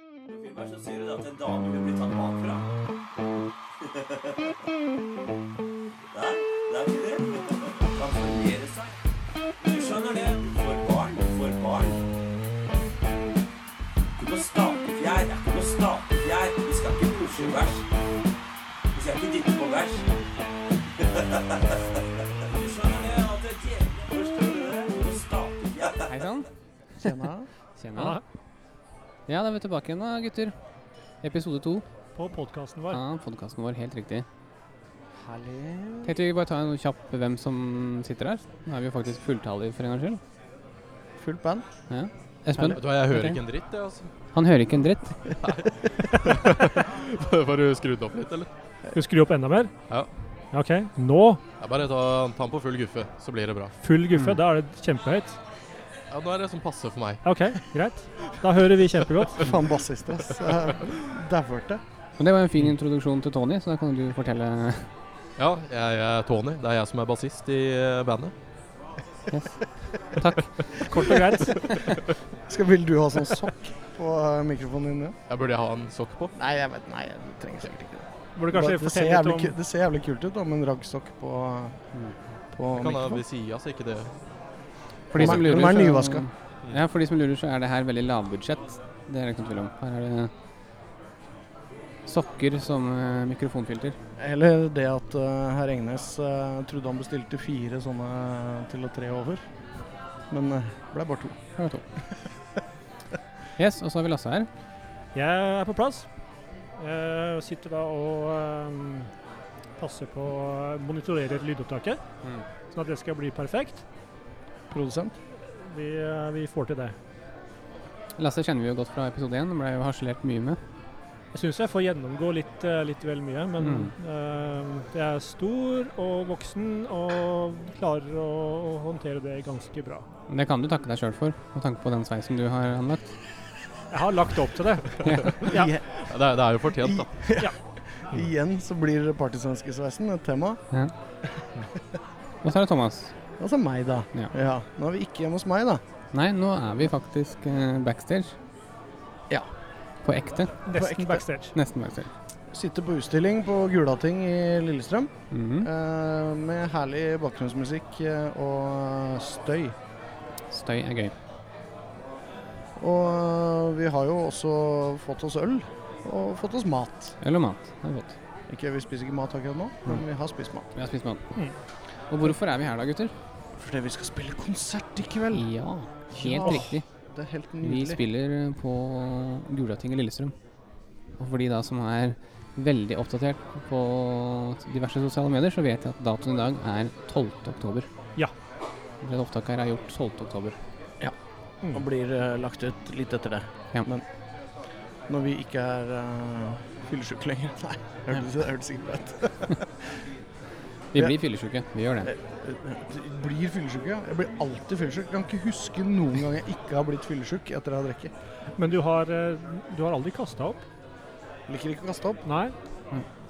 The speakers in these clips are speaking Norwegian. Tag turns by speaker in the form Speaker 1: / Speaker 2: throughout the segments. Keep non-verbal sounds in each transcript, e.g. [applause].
Speaker 1: Gilbert, så sier du at en dame vil bli tatt bakfra. Der. Der blir det. Kan formere seg. Du skjønner det. Du får barn. Du får barn. Du må stake fjær. Det er ikke noe stake fjær. Vi skal ikke pushe vers. Vi skal ikke dytte på [laughs] vers. Du skjønner det at det er djevelen Du må stake fjær.
Speaker 2: Hei sann.
Speaker 3: Tjena.
Speaker 2: [laughs] Tjena. Ja, da er vi tilbake igjen da, gutter. Episode to
Speaker 4: På podkasten vår.
Speaker 2: av podkasten vår. Helt riktig.
Speaker 3: Herlig.
Speaker 2: Tenkte vi bare ta en kjapp hvem som sitter her. Nå er vi jo faktisk fulltallige for en gangs skyld.
Speaker 3: Fullt band.
Speaker 2: Espen,
Speaker 5: Vet du hva, jeg hører
Speaker 2: Ok.
Speaker 5: ikke en dritt, jeg, [laughs] altså.
Speaker 2: han hører ikke en dritt.
Speaker 5: Får du skrudd opp litt, eller?
Speaker 4: Skal vi skru opp enda mer?
Speaker 5: Ja.
Speaker 4: Ja, OK. Nå,
Speaker 5: Ja, bare ta, ta den på full guffe, så blir det bra.
Speaker 4: full guffe.
Speaker 2: Mm.
Speaker 4: Da er det kjempehøyt.
Speaker 5: Ja, nå er det sånn passe for meg.
Speaker 4: Ja, OK, greit. Da hører vi kjempegodt.
Speaker 3: Faen, bassister, [laughs] ass. Dæverte.
Speaker 2: Men det var en fin introduksjon til Tony, så da kan du fortelle
Speaker 5: Ja, jeg er Tony. Det er jeg som er bassist i eh, bandet.
Speaker 4: Kort og greit.
Speaker 3: Skal, vil du ha sånn sokk på eh, mikrofonen din? ja?
Speaker 5: Jeg burde jeg ha en sokk på?
Speaker 3: Nei, jeg vet Nei, du trenger sikkert ikke det.
Speaker 4: Burde
Speaker 3: Bare,
Speaker 4: kanskje
Speaker 3: det, ser
Speaker 4: fortelle
Speaker 3: jævlig,
Speaker 4: litt
Speaker 3: ku- det ser jævlig kult ut da, med en raggsokk på,
Speaker 2: Mm.
Speaker 3: på
Speaker 5: Jeg kan ha
Speaker 3: mikrofonen.
Speaker 5: ved sida, så ikke det
Speaker 2: For de som
Speaker 3: De er-
Speaker 2: lurer,
Speaker 3: de er
Speaker 2: så-
Speaker 3: nyvaska.
Speaker 2: Ja, for de som lurer, så er det her veldig lavbudsjett. Det er det ikke noe tvil om. Her er det sokker som eh, mikrofonfilter.
Speaker 3: Eller det at eh, herr Engnes eh, trodde han bestilte fire sånne til å tre over. Men det ble bare to.
Speaker 2: Her [laughs] er to. Yes, og så har vi Lasse her.
Speaker 4: om Jeg er på plass. Eh, sitter da og eh, passer på å monitorere lydopptaket,
Speaker 2: Mm.
Speaker 4: sånn at det skal bli perfekt.
Speaker 3: Produsent.
Speaker 4: Vi, eh, vi får til det.
Speaker 2: Lasse kjenner vi jo godt fra episode 1, ble jo harselert mye med.
Speaker 4: Jeg syns jeg får gjennomgå litt, eh, litt vel mye, men eh, jeg er stor og voksen og klarer å, å håndtere det ganske bra.
Speaker 2: Men Det kan du takke deg sjøl for, med tanke på den sveisen du har anlagt.
Speaker 4: Jeg har lagt opp til det. Ja.
Speaker 3: Igjen-
Speaker 5: Ja, det, er, det er jo fortjent, da.
Speaker 3: [laughs] Igjen så blir partysvenskesveisen et tema.
Speaker 2: Og så er det Thomas.
Speaker 3: Altså meg, da.
Speaker 2: Ja.
Speaker 3: Nå er vi ikke hjemme hos meg, da.
Speaker 2: Nei, nå er vi faktisk eh, backstage.
Speaker 3: Ja.
Speaker 2: På ekte.
Speaker 3: ekte.
Speaker 4: Nesten backstage.
Speaker 2: Nesten backstage.
Speaker 3: Sitter på utstilling på Gulating i Lillestrøm.
Speaker 2: Mhm.
Speaker 3: eh, med herlig bakgrunnsmusikk eh, og støy.
Speaker 2: Støy er gøy.
Speaker 3: Og eh, vi har jo også fått oss øl og fått oss mat.
Speaker 2: Øl og mat. Det er godt.
Speaker 3: Ikke, Vi spiser ikke mat akkurat nå, men vi har spist mat.
Speaker 2: Vi har spist mat.
Speaker 4: Mm.
Speaker 2: Og hvorfor er vi her da, gutter?
Speaker 3: Fordi vi skal spille konsert i kveld.
Speaker 2: Ja, helt
Speaker 3: Ja.
Speaker 2: riktig.
Speaker 3: Det er helt
Speaker 2: Vi
Speaker 3: nydelig.
Speaker 2: spiller på Gulating i Lillestrøm. Og for de da som er veldig oppdatert på diverse sosiale medier, så vet jeg at datoen i dag er 12. oktober.
Speaker 4: Ja.
Speaker 2: Det opptaket her er gjort 12. oktober.
Speaker 4: Mm.
Speaker 3: Og blir eh, lagt ut litt etter det.
Speaker 2: Ja.
Speaker 3: Men når vi ikke er uh, fyllesyke lenger [laughs] Nei, det hørtes det hørtes ikke bra ut.
Speaker 2: Vi
Speaker 3: Ja.
Speaker 2: blir fyllesyke. Vi gjør det.
Speaker 3: Jeg eh, Blir fyllesyk, ja. Jeg blir alltid fyllesyk. Kan ikke huske noen gang jeg ikke har blitt fyllesyk etter å ha drukket.
Speaker 4: Men du har, eh, du har aldri kasta opp?
Speaker 3: Liker ikke å kaste opp.
Speaker 4: Nei?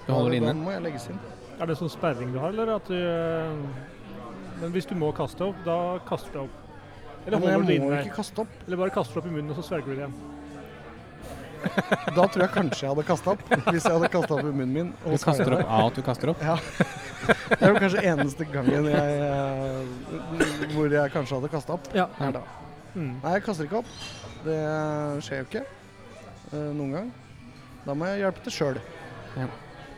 Speaker 2: Du holder
Speaker 3: Da
Speaker 2: inne.
Speaker 3: må jeg legges inn.
Speaker 4: Er det sånn sperring du har, eller at du eh, Men hvis du må kaste opp, da kaster du opp. Eller
Speaker 3: Men
Speaker 4: holder du det
Speaker 3: jeg må
Speaker 4: inne?
Speaker 3: ikke kaste opp.
Speaker 4: Eller bare kaster du opp i munnen, og så svelger du det igjen?
Speaker 3: Da tror jeg kanskje jeg hadde kasta opp. [laughs] Hvis jeg hadde kasta opp i munnen min. og
Speaker 2: Du kaster
Speaker 3: svelget
Speaker 2: opp av at du kaster opp.
Speaker 3: Det Det er vel kanskje eneste gangen jeg, eh, hvor jeg kanskje hadde kasta opp.
Speaker 4: Ja.
Speaker 3: Er da. [laughs]
Speaker 4: Mm. [laughs]
Speaker 3: Nei, jeg kaster ikke opp. Det skjer jo ikke eh, noen gang. Da må jeg hjelpe til sjøl.
Speaker 2: Ja.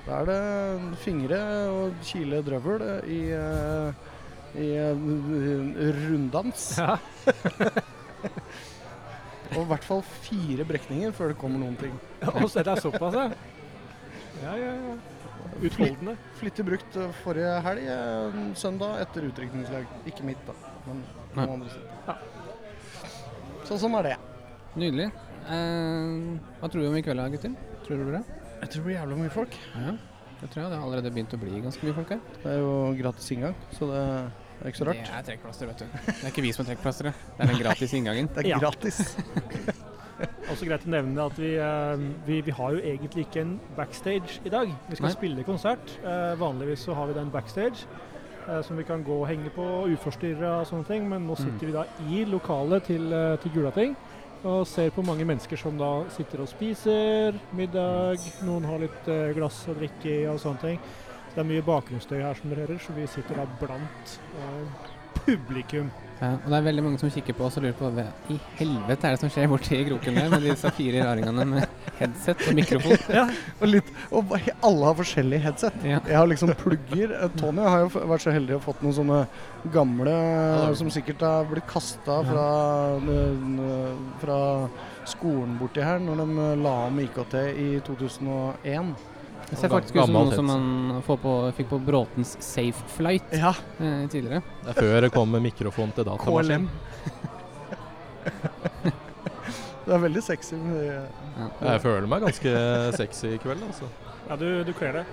Speaker 3: Da er det fingre og kile drøvel i, eh, i eh, runddans.
Speaker 4: Ja.
Speaker 3: [laughs] Og i hvert fall fire brekninger før det kommer noen ting.
Speaker 4: Og så er det såpass, ja. Ja, ja, ja. Utholdende.
Speaker 3: Flittig brukt eh, forrige helg, eh, søndag etter utrykningslag. Ikke mitt, da, men
Speaker 2: Nei.
Speaker 3: noen andre sitt.
Speaker 4: Ja.
Speaker 3: Så sånn er det.
Speaker 2: Nydelig. Eh, hva tror vi om i kveld, da, gutter? Tror du det?
Speaker 3: Jeg tror det blir jævla mye folk.
Speaker 2: Ja, det tror jeg. Det har allerede begynt å bli ganske mye folk her.
Speaker 3: Det er jo gratis inngang, så det er ikke så rart.
Speaker 2: Det er trekkplaster, vet du. Det er ikke vi som er trekkplastere. Det er den gratis inngangen.
Speaker 3: Det er
Speaker 4: Ja.
Speaker 3: gratis. [laughs]
Speaker 4: Også greit å nevne at vi, eh, vi, vi har jo egentlig ikke en backstage i dag. Vi skal
Speaker 2: Nei.
Speaker 4: spille konsert. Eh, vanligvis så har vi den backstage eh, som vi kan gå og henge på uforstyrra og sånne ting, men nå
Speaker 2: Mm.
Speaker 4: sitter vi da i lokalet til, eh, til Gulating. Og ser på mange mennesker som da sitter og spiser middag, noen har litt eh, glass å drikke i og sånne ting. Det er mye bakgrunnsstøy her som dere hører, så vi sitter da blant eh, publikum.
Speaker 2: Ja, og det er veldig mange som kikker på oss og lurer på hva i helvete er det som skjer borti kroken der med disse fire raringene med headset og mikrofon.
Speaker 3: Og, litt, og ba- alle har forskjellige headset.
Speaker 2: Ja.
Speaker 3: Jeg har liksom plugger. Eh, Tony har jo f- vært så heldig å fått noen sånne gamle
Speaker 5: det er-
Speaker 3: som sikkert har blitt kasta fra, n- n- fra skolen borti her når de eh, la om IKT i 2001.
Speaker 2: Det ser faktisk ut som
Speaker 5: Gammelt
Speaker 2: noe som man får på, fikk på Bråtens Safe Flight
Speaker 3: Ja,
Speaker 2: eh, tidligere.
Speaker 5: Det er før det kom med mikrofon til datamaskin.
Speaker 3: KLM. [laughs] det er veldig sexy. med eh, det.
Speaker 5: Jeg føler meg ganske sexy i kveld, altså.
Speaker 4: Ja, du, du kler det.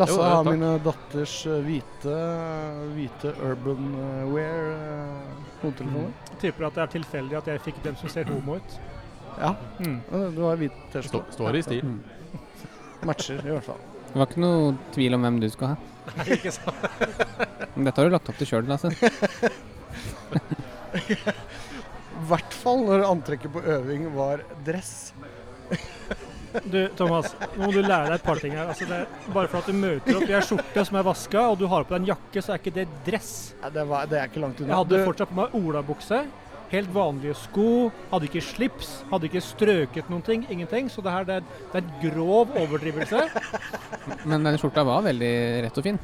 Speaker 3: Lasse
Speaker 5: Jo, ja,
Speaker 3: har
Speaker 5: takk.
Speaker 3: mine datters eh, hvite, eh, hvite urban eh, wear eh, hodetelefoner.
Speaker 4: Tipper at det er tilfeldig at jeg fikk dem som ser homo ut.
Speaker 3: Ja, eh, du har hvit
Speaker 5: Stå,
Speaker 3: T-skjorte.
Speaker 5: står i stil.
Speaker 2: Mm.
Speaker 3: Matcher, i hvert fall.
Speaker 2: Det var ikke noe tvil om hvem du skulle ha. [laughs] Men dette har du lagt opp til altså. sjøl, Lasse.
Speaker 3: I hvert fall når antrekket på øving var dress.
Speaker 4: Du, Thomas, nå må du lære deg et par ting her. Altså, det er bare for at du møter opp i ei skjorte som er vaska, og du har på deg en jakke, så er ikke det dress.
Speaker 3: Nei, det, var, det er ikke langt
Speaker 4: Jeg
Speaker 3: unna.
Speaker 4: hadde
Speaker 3: Du-
Speaker 4: fortsatt på meg olabukse, helt vanlige sko, hadde ikke slips, hadde ikke strøket noen ting, ingenting. Så det her det er, det er en grov overdrivelse.
Speaker 2: Men den skjorta var veldig rett og fin.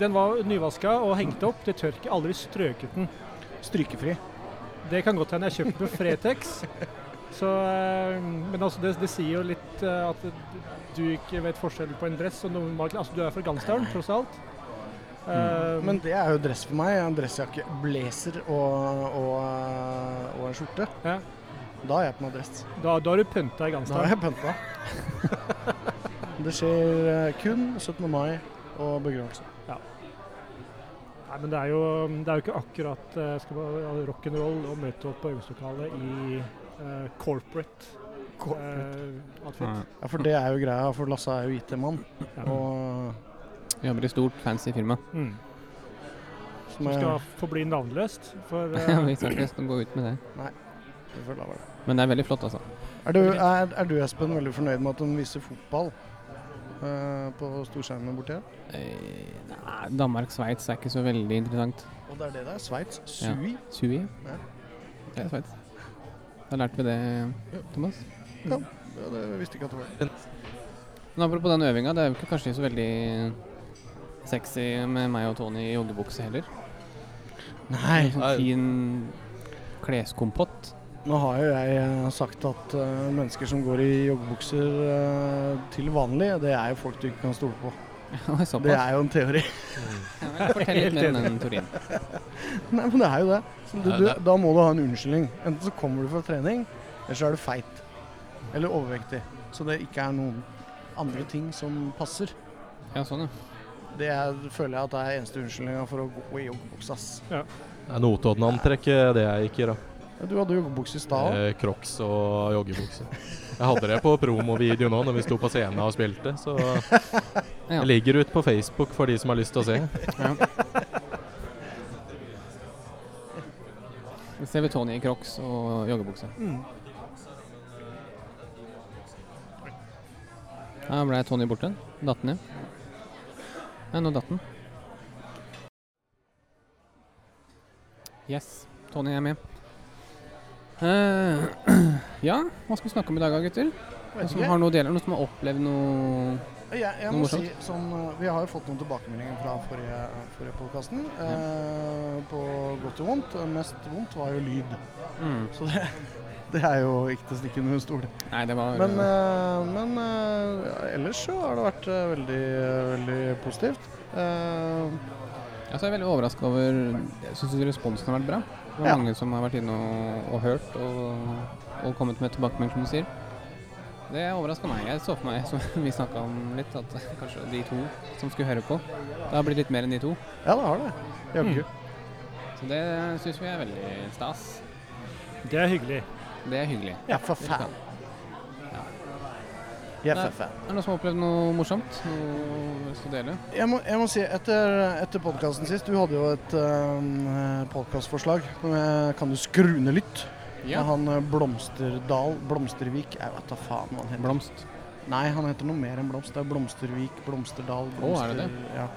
Speaker 4: Den var nyvaska og hengt opp til tørk, aldri strøket den.
Speaker 3: Strykefri.
Speaker 4: Det kan godt hende jeg kjøpte på Fretex. Så, eh, men altså, det, det sier jo litt eh, at du ikke vet forskjellen på en dress og noen makler. Altså, du er fra Gansdalen, tross alt. Eh,
Speaker 3: Men det er jo dress for meg. En dressjakke, blazer og, og, eh, og en skjorte.
Speaker 4: Ja.
Speaker 3: Da har jeg på meg dress.
Speaker 4: da, da har du pynta i
Speaker 3: Da har
Speaker 4: Gansdalen.
Speaker 3: jeg pønta. det skjer eh, kun 17. mai og begravelse.
Speaker 4: Nei, men det er jo, det er jo ikke akkurat eh, skal man- ja, rock'n'roll å møte opp på øvingslokalet i eh, corporate. eh, outfit.
Speaker 3: Ja, for det er jo greia, for Lasse er jo IT-mann.
Speaker 4: Ja.
Speaker 3: Og
Speaker 2: Jobber i stort, fancy firma. [laughs]
Speaker 4: Mm.
Speaker 3: som
Speaker 4: Som
Speaker 3: jeg
Speaker 4: skal forbli navnløst.
Speaker 2: [laughs]
Speaker 4: For
Speaker 2: Ja,
Speaker 4: eh,
Speaker 2: vi skal ikke gå ut med det.
Speaker 3: Jeg føler det var det.
Speaker 2: Men det er veldig flott, altså.
Speaker 3: Er du, er, er du, Espen, veldig fornøyd med at de viser fotball eh, på storskjermen borti her?
Speaker 2: Eh, nei, Danmark-Sveits er ikke så veldig interessant.
Speaker 3: Og det er det det er. Sveits.
Speaker 2: Ja.
Speaker 3: Sui.
Speaker 2: Sui?
Speaker 3: Ja.
Speaker 2: Det er Sveits. Da lærte vi det, Thomas.
Speaker 3: Ja, det visste ikke at det var.
Speaker 2: Men apropos den øvinga, det er jo ikke kanskje så veldig sexy med meg og Tony i joggebukse heller.
Speaker 3: Nei.
Speaker 2: En
Speaker 5: Nei.
Speaker 2: sånn fin kleskompott. [laughs]
Speaker 3: Nå har jo jeg eh, sagt at eh, mennesker som går i joggebukser eh, til vanlig, det er jo folk du ikke kan stole på.
Speaker 2: Oi,
Speaker 3: Det
Speaker 2: såpass.
Speaker 3: er jo en teori. [laughs]
Speaker 2: Ja, men Fortell litt mer om den teorien.
Speaker 3: Nei, men det er jo det. Så du,
Speaker 5: Nei,
Speaker 3: du,
Speaker 5: det er-
Speaker 3: da må du ha en unnskyldning. Enten så kommer du fra trening, eller så er du feit. Eller overvektig. Så det ikke er noen andre ting som passer.
Speaker 2: Ja, sånn, ja.
Speaker 3: Det er, føler jeg at det er eneste unnskyldninga for å gå i joggebukse, ass.
Speaker 5: Det er Notodden-antrekket det jeg gikk i, da.
Speaker 3: Ja, Du hadde joggebukse i stad òg.
Speaker 5: Eh, Crocs og joggebukse. Jeg hadde det på promovideo nå når vi sto på scenen og spilte, så
Speaker 2: Ja.
Speaker 5: jeg ligger ut på Facebook for de som har lyst til å se.
Speaker 2: Så ser vi Tony i crocs og joggebukse. Her ble Tony borte. Datt ned. Nei, nå datt den. Yes, Tony er med. Eh, [clears throat] ja, hva skal vi snakke om i dag, gutter? Noen som har noe deler, noen som har opplevd noe
Speaker 3: Jeg, jeg
Speaker 2: Noe
Speaker 3: må si,
Speaker 2: morsomt?
Speaker 3: som, eh, Vi har jo fått noen tilbakemeldinger fra forrige, forrige podkasten. Eh, på godt og vondt. Eh, Mest vondt var jo lyd. Så det, det er jo ikke til å stikke under en stol.
Speaker 2: Mm. Nei, det var
Speaker 3: Men, eh, men eh, ja, ellers så har det vært eh, veldig, eh, veldig positivt. Eh,
Speaker 2: Altså, jeg er veldig overraska over Jeg syns responsen har vært bra. Det er
Speaker 3: Ja.
Speaker 2: mange som har vært inne og, og hørt og, og kommet med tilbakemelding, som du sier. Det overraska meg. Jeg så for meg, [laughs] som vi snakka om litt, at kanskje de to som skulle høre på, det har blitt litt mer enn de to.
Speaker 3: ja, det har det. Jaggu.
Speaker 2: Mm. Så det syns vi er veldig stas.
Speaker 4: det er hyggelig.
Speaker 2: Det er hyggelig.
Speaker 3: Jeg er for fan. Jeg er for fan.
Speaker 2: Er det noen som har opplevd noe morsomt? Noe lyst til å dele?
Speaker 3: Jeg må, jeg må si, etter, etter eh, podkasten sist Du hadde jo et um, podkastforslag. Kan du Eh, skru ned litt?
Speaker 2: Ja.
Speaker 3: Og han eh, Blomsterdal Blomstervik Jeg vet da faen hva han heter.
Speaker 2: Blomst.
Speaker 3: Nei, han heter noe mer enn Blomst. Det er Blomstervik, Blomsterdal
Speaker 2: Å, er det det?
Speaker 3: Ja.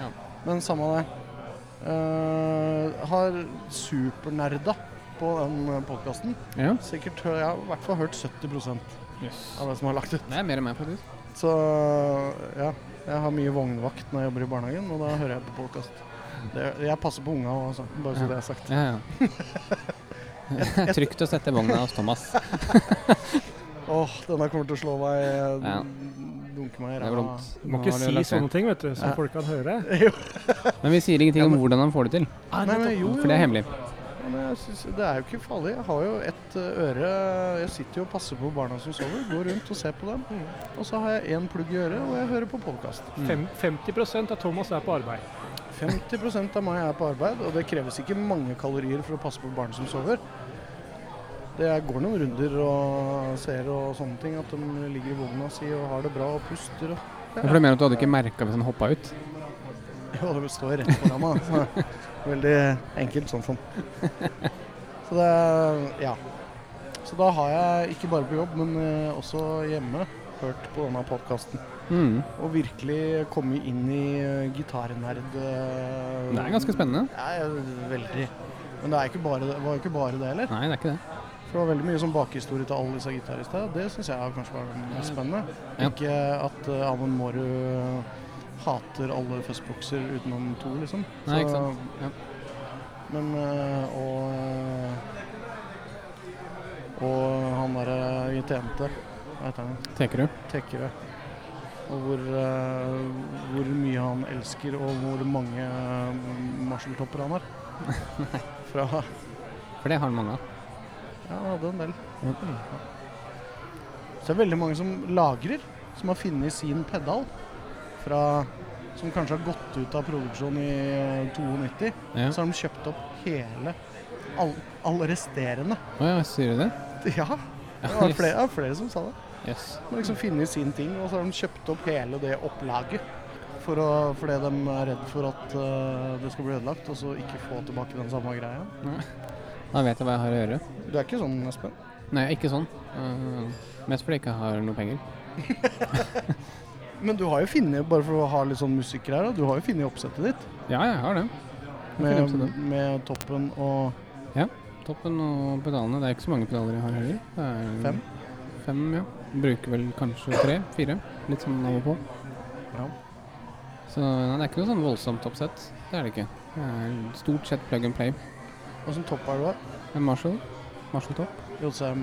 Speaker 2: Ja.
Speaker 3: Men samme det. Eh, har supernerda på den podkasten.
Speaker 2: Ja.
Speaker 3: Sikkert hø- Jeg har i hvert fall hørt 70 av
Speaker 2: Yes.
Speaker 3: det som er lagt ut.
Speaker 2: Det er mer enn meg, faktisk.
Speaker 3: Så ja. Jeg har mye vognvakt når jeg jobber i barnehagen, og da hører jeg på podkast. Jeg passer på unga òg, altså. Bare så
Speaker 2: Ja.
Speaker 3: det er sagt.
Speaker 2: Ja, [laughs] ja. Det er trygt å sette vogna hos Thomas.
Speaker 3: Åh, denne kommer til å slå meg
Speaker 2: Ja.
Speaker 3: Dunke meg
Speaker 2: Det
Speaker 3: i
Speaker 2: er
Speaker 3: ræva.
Speaker 2: vondt.
Speaker 4: Du må
Speaker 2: Nå
Speaker 4: ikke
Speaker 2: har du
Speaker 4: si
Speaker 2: lagt det.
Speaker 4: sånne ting, vet du, som
Speaker 3: Ja.
Speaker 4: folk kan høre.
Speaker 2: Men vi sier ingenting om hvordan han får det til,
Speaker 3: Nei, men jo,
Speaker 2: for
Speaker 3: jo.
Speaker 2: det er hemmelig.
Speaker 3: Men jeg synes, det er jo ikke farlig. Jeg har jo et eh, øre Jeg sitter jo og passer på barna som sover. Går rundt og ser på dem. Og så har jeg én plugg i øret, og jeg hører på podkast.
Speaker 2: Mm.
Speaker 4: Fem, 50 av Thomas er på arbeid.
Speaker 3: 50 av meg er på arbeid, og det kreves ikke mange kalorier for å passe på barn som sover. Det jeg går noen runder og ser og sånne ting, at de ligger i vogna si og har det bra og puster. Og [laughs]
Speaker 2: Jeg føler mer at du hadde ikke merka hvis han hoppa ut.
Speaker 3: jo, det står rett foran meg. Så. Veldig enkelt sånn sånn. Så det er- ja. Så da har jeg ikke bare på jobb, men eh, også hjemme hørt på denne podkasten.
Speaker 2: Mm.
Speaker 3: Og virkelig kommet inn i eh, gitarnerd... eh,
Speaker 2: Det er ganske spennende.
Speaker 3: Ja, veldig. Men det, er ikke bare det, var jo ikke bare det heller.
Speaker 2: Nei, det er ikke det.
Speaker 3: For det var veldig mye sånn bakhistorie til alle disse gitaristene. Det syns jeg kanskje var det mest spennende.
Speaker 2: Ja.
Speaker 3: Ikke at uh, Amund Mårud hater alle fuzzboxer utenom to, liksom.
Speaker 2: Nei, ikke sant. Ja.
Speaker 3: Men eh, og eh, Og han derre i TNT, hva heter han?
Speaker 2: Tenker du?
Speaker 3: Tekkere. Og hvor, eh, hvor mye han elsker, og hvor mange eh, marseltopper han har. Fra Ja,
Speaker 2: For det har han mange av.
Speaker 3: han hadde en del. Så det er veldig mange som lagrer, som har funnet sin pedal fra som kanskje har gått ut av produksjon i eh, 92.
Speaker 2: Ja.
Speaker 3: Så har de kjøpt opp hele all- Alle resterende.
Speaker 2: Å ja, sier du det?
Speaker 3: Ja, det
Speaker 2: [laughs]
Speaker 3: var flere, det var flere som sa det.
Speaker 2: Yes.
Speaker 3: De har liksom funnet sin ting, og så har de kjøpt opp hele det opplaget. For å, fordi de er redd for at eh, det skal bli ødelagt, og så ikke få tilbake den samme greia.
Speaker 2: Da vet jeg hva jeg har å gjøre.
Speaker 3: Du er ikke sånn, Espen?
Speaker 2: Nei, ikke sånn. Eh, mest fordi jeg ikke har noe penger.
Speaker 3: Men du har jo funnet, bare for å ha litt sånn musiker her, da, du har jo funnet oppsettet ditt.
Speaker 2: Ja, jeg har det. finner
Speaker 3: Med,
Speaker 2: oppsettet.
Speaker 3: med toppen og
Speaker 2: Toppen og pedalene. Det er ikke så mange pedaler jeg har heller. Det er
Speaker 3: Fem?
Speaker 2: Fem, ja. Bruker vel kanskje tre, fire. Litt sånn av og på.
Speaker 3: Ja.
Speaker 2: Så nei, det er ikke noe sånn voldsomt oppsett. Det er det ikke. Det er stort sett plug and play.
Speaker 3: Åssen topp er du da?
Speaker 2: En Marshall. Marshall Top.
Speaker 3: JCM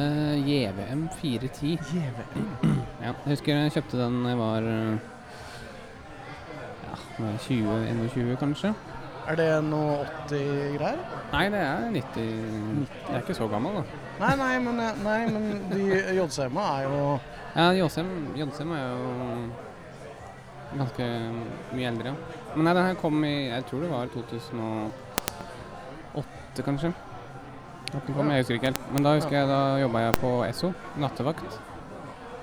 Speaker 2: Eh, JVM 410.
Speaker 3: JVM.
Speaker 2: [clears throat] Ja, jeg husker jeg kjøpte den da jeg var eh, ja, når jeg var 20-21 kanskje.
Speaker 3: Er det noe 80-greier?
Speaker 2: Nei, det er 90 Jeg er ikke så gammel, da.
Speaker 3: Nei, nei, men, nei, men de JCM-a er jo
Speaker 2: Ja, Jonsheim, Jonsheim er jo ganske mye eldre, ja. Men nei, den her kom i Jeg tror det var 2008, kanskje. At den kom, Jeg husker ikke helt. Men da husker jeg da jobba jeg på Esso, nattevakt.